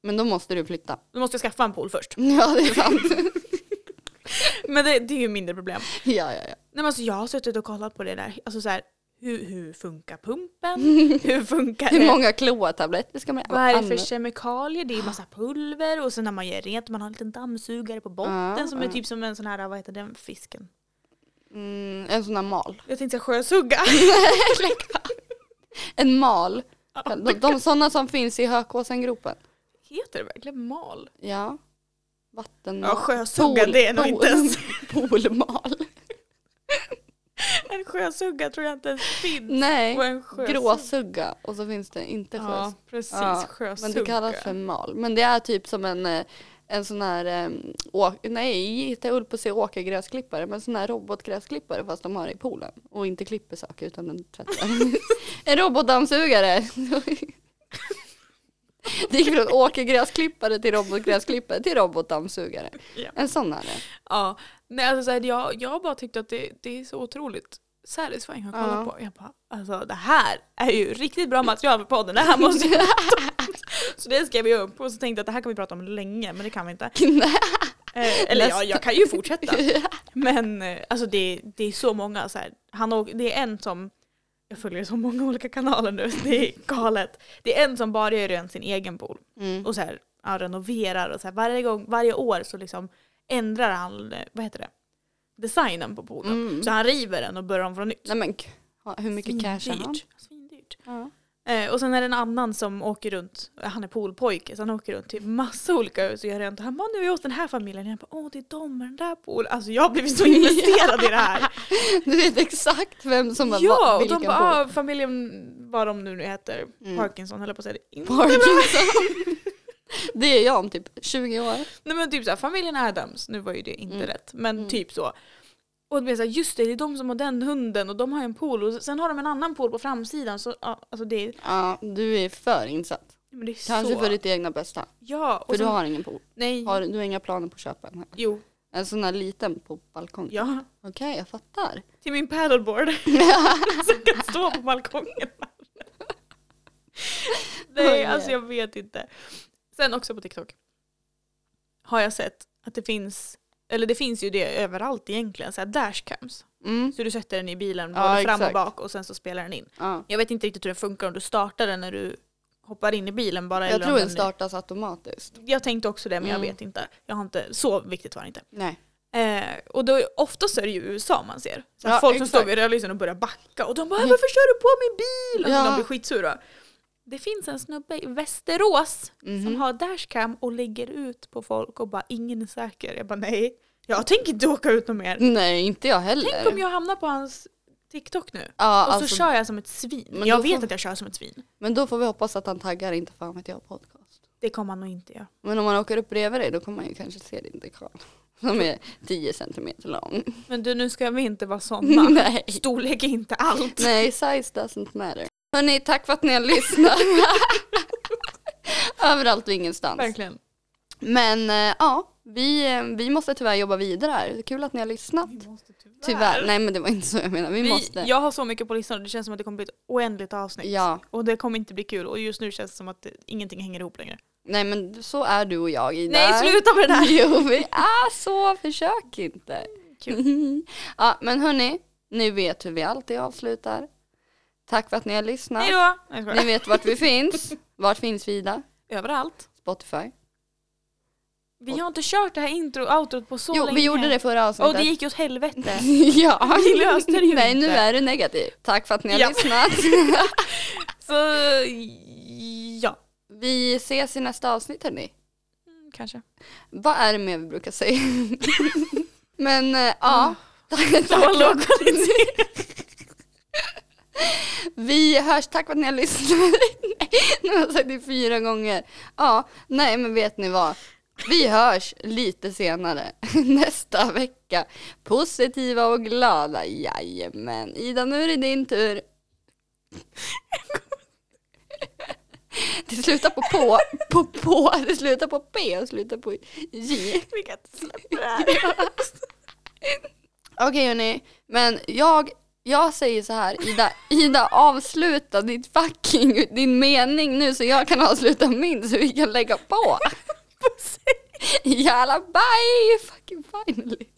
[SPEAKER 1] Men då måste du flytta.
[SPEAKER 2] Då måste jag skaffa en pool först.
[SPEAKER 1] Ja det är sant.
[SPEAKER 2] Men det, det är ju mindre problem.
[SPEAKER 1] ja ja ja.
[SPEAKER 2] Nej, men alltså jag har suttit och kollat på det där. Alltså så här, hur, hur funkar pumpen? Hur funkar
[SPEAKER 1] Hur
[SPEAKER 2] det?
[SPEAKER 1] många kloatabletter ska man
[SPEAKER 2] Vad är det för
[SPEAKER 1] använda?
[SPEAKER 2] kemikalier? Det är massa pulver och sen när man gör rent man har en liten dammsugare på botten
[SPEAKER 1] Ja,
[SPEAKER 2] som är
[SPEAKER 1] ja.
[SPEAKER 2] typ som en sån här, vad heter den fisken?
[SPEAKER 1] mm, En sån här mal.
[SPEAKER 2] Jag tänkte säga sjösugga.
[SPEAKER 1] En mal. De, de sådana som finns i Hökåsengropen.
[SPEAKER 2] Heter det verkligen mal?
[SPEAKER 1] Ja. Vattenmal.
[SPEAKER 2] Ja sjösugga
[SPEAKER 1] Pool-
[SPEAKER 2] det är nog
[SPEAKER 1] pool-
[SPEAKER 2] inte ens.
[SPEAKER 1] Poolmal.
[SPEAKER 2] En sjösugga tror jag inte ens finns.
[SPEAKER 1] Nej.
[SPEAKER 2] Och en sjösugga.
[SPEAKER 1] Gråsugga och så finns det inte sjös.
[SPEAKER 2] Ja precis,
[SPEAKER 1] Ja,
[SPEAKER 2] sjösugga.
[SPEAKER 1] Men det kallas för mal. Men det är typ som en, eh, en sån här, eh, å, nej jag höll på att säga åkergräsklippare, men sån här robotgräsklippare fast de har det i poolen. Och inte klipper saker utan den tvättar. en robotdammsugare. det gick från åkergräsklippare till robotgräsklippare till robotdammsugare.
[SPEAKER 2] Ja.
[SPEAKER 1] En sån är det.
[SPEAKER 2] Ja. Nej alltså så här, jag, jag bara tyckte att det, det är så otroligt satisfying att kolla
[SPEAKER 1] Ja.
[SPEAKER 2] på. Jag bara, alltså det här är ju riktigt bra material för podden. Det här måste jag Så det skrev jag upp och så tänkte jag att det här kan vi prata om länge men det kan vi inte. Eh, eller ja, jag kan ju fortsätta. Men eh, alltså det, det är så många så här, Han åker, det är en som, jag följer så många olika kanaler nu, så det är galet. Det är en som bara gör rent sin egen pool
[SPEAKER 1] Mm.
[SPEAKER 2] och så här, ja, renoverar och så här, varje, gång, varje år så liksom ändrar han, eh, vad heter det, designen på poolen.
[SPEAKER 1] Mm.
[SPEAKER 2] Så han river den och börjar om från nytt.
[SPEAKER 1] Nej men k- ha- hur mycket cash har han?
[SPEAKER 2] Svindyrt. Svindyrt.
[SPEAKER 1] Ja.
[SPEAKER 2] Eh, och sen är det en annan som åker runt, eh, han är poolpojke, så han åker runt till massa olika hus och gör rent. Och Han bara, nu är jag hos den här familjen. Jag bara, åh det är de med den där poolen. Alltså jag har blivit så investerad i det här.
[SPEAKER 1] Du vet exakt vem som har
[SPEAKER 2] ja,
[SPEAKER 1] va-
[SPEAKER 2] och de
[SPEAKER 1] vilken
[SPEAKER 2] bara,
[SPEAKER 1] bok.
[SPEAKER 2] ah, familjen, vad de nu heter,
[SPEAKER 1] Mm.
[SPEAKER 2] Parkinson höll jag på att säga. Det är inte-
[SPEAKER 1] Parkinson. det är jag om typ 20 år.
[SPEAKER 2] Nej men typ såhär, familjen Adams, nu var ju det inte
[SPEAKER 1] Mm.
[SPEAKER 2] rätt, men
[SPEAKER 1] Mm.
[SPEAKER 2] typ så. Och det blir såhär, just det, det är de som har den hunden och de har en pool och sen har de en annan pool på framsidan så ja, alltså det är,
[SPEAKER 1] Ja, du är för insatt.
[SPEAKER 2] men det är
[SPEAKER 1] Kanske
[SPEAKER 2] så.
[SPEAKER 1] för ditt egna bästa.
[SPEAKER 2] ja, och
[SPEAKER 1] För
[SPEAKER 2] sen,
[SPEAKER 1] du har ingen pool.
[SPEAKER 2] nej,
[SPEAKER 1] Har, du har inga planer på att köpa en? här?
[SPEAKER 2] jo,
[SPEAKER 1] En sån här liten på balkongen?
[SPEAKER 2] ja.
[SPEAKER 1] Okej, jag fattar.
[SPEAKER 2] Till min paddleboard. som kan stå på balkongen.
[SPEAKER 1] Oj. Oh,
[SPEAKER 2] nej, alltså jag vet inte. Sen också på TikTok har jag sett att det finns, eller det finns ju det överallt egentligen, såhär dashcams.
[SPEAKER 1] Mm.
[SPEAKER 2] Så du sätter den i bilen
[SPEAKER 1] Ja,
[SPEAKER 2] både fram
[SPEAKER 1] exakt.
[SPEAKER 2] och bak och sen så spelar den in.
[SPEAKER 1] Ja.
[SPEAKER 2] Jag vet inte riktigt hur den funkar om du startar den när du hoppar in i bilen bara.
[SPEAKER 1] Jag
[SPEAKER 2] eller
[SPEAKER 1] tror
[SPEAKER 2] om
[SPEAKER 1] den startas automatiskt.
[SPEAKER 2] Jag tänkte också det men
[SPEAKER 1] Mm.
[SPEAKER 2] jag vet inte. Jag har inte. Så viktigt var det inte.
[SPEAKER 1] Nej.
[SPEAKER 2] Eh, och då, oftast är det ju i USA man ser. Så här
[SPEAKER 1] Ja,
[SPEAKER 2] folk
[SPEAKER 1] exakt. Mm.
[SPEAKER 2] som står vid rödlysen och börjar backa och de bara "Ah, “varför kör du på min bil?” Alltså
[SPEAKER 1] Ja.
[SPEAKER 2] de blir skitsura. Det finns en snubbe i Västerås
[SPEAKER 1] Mhm.
[SPEAKER 2] som har dashcam och lägger ut på folk och bara “ingen är säker”. Jag bara “nej, jag tänker inte åka ut något mer”.
[SPEAKER 1] Nej, inte jag heller.
[SPEAKER 2] Tänk om jag hamnar på hans TikTok nu.
[SPEAKER 1] Ja,
[SPEAKER 2] Och
[SPEAKER 1] alltså,
[SPEAKER 2] så kör jag som ett svin.
[SPEAKER 1] Men då
[SPEAKER 2] jag vet
[SPEAKER 1] får-
[SPEAKER 2] att jag kör som ett svin.
[SPEAKER 1] Men då får vi hoppas att han taggar inte fan vet jag podcast.
[SPEAKER 2] Det kommer han nog inte göra.
[SPEAKER 1] Men om man åker upp bredvid dig då kommer man ju kanske se din dekal. Som är 10 centimeter lång.
[SPEAKER 2] Men du, nu ska vi inte vara såna.
[SPEAKER 1] Nej.
[SPEAKER 2] Storlek är inte allt.
[SPEAKER 1] Nej, size doesn't matter. Hörni, tack för att ni har lyssnat. Överallt och ingenstans.
[SPEAKER 2] Verkligen.
[SPEAKER 1] Men eh, ja, vi, eh, vi måste tyvärr jobba vidare här. Kul att ni har lyssnat. Tyvärr. Nej men det var inte så jag menade. Vi,
[SPEAKER 2] Vi,
[SPEAKER 1] måste.
[SPEAKER 2] Jag har så mycket på listan och det känns som att det kommer bli ett oändligt avsnitt.
[SPEAKER 1] Ja.
[SPEAKER 2] Och det kommer inte bli kul och just nu känns det som att det, ingenting hänger ihop längre.
[SPEAKER 1] Nej men så är du och jag Ida.
[SPEAKER 2] Nej, sluta med det där!
[SPEAKER 1] Jo, vi är så. Försök inte. ja, men hörni, ni vet hur vi alltid avslutar. Tack för att ni har lyssnat.
[SPEAKER 2] Hej då! Nej, jag skojar.
[SPEAKER 1] Ni vet vart vi finns. Vart finns vi Ida?
[SPEAKER 2] Överallt.
[SPEAKER 1] Spotify.
[SPEAKER 2] Vi har inte kört det här intro och outrot på så
[SPEAKER 1] jo,
[SPEAKER 2] länge.
[SPEAKER 1] vi gjorde det förra avsnittet.
[SPEAKER 2] Och det gick ju åt helvete.
[SPEAKER 1] ja.
[SPEAKER 2] Vi löste det ju
[SPEAKER 1] Nej,
[SPEAKER 2] inte.
[SPEAKER 1] nu är du negativ. Tack för att ni har
[SPEAKER 2] Ja.
[SPEAKER 1] lyssnat.
[SPEAKER 2] Så ja,
[SPEAKER 1] Vi ses i nästa avsnitt hörni.
[SPEAKER 2] Mm, kanske.
[SPEAKER 1] Vad är det mer vi brukar säga? Men eh, ja, tack,
[SPEAKER 2] Det var låg
[SPEAKER 1] tack.
[SPEAKER 2] kvalitet.
[SPEAKER 1] Vi hörs, tack för att ni har lyssnat. Nej, nu har jag sagt det fyra gånger. Ja, nej men vet ni vad? Vi hörs lite senare nästa vecka. Positiva och glada, jajamän. Ida, nu är det din tur. Det slutar på på, på på, det slutar på p och slutar på j.
[SPEAKER 2] Vi kan inte släppa det här.
[SPEAKER 1] Okej hörni, men jag, jag säger så här, Ida, Ida avsluta ditt fucking, din mening nu så jag kan avsluta min så vi kan lägga på. Jävla bye! Fucking finally.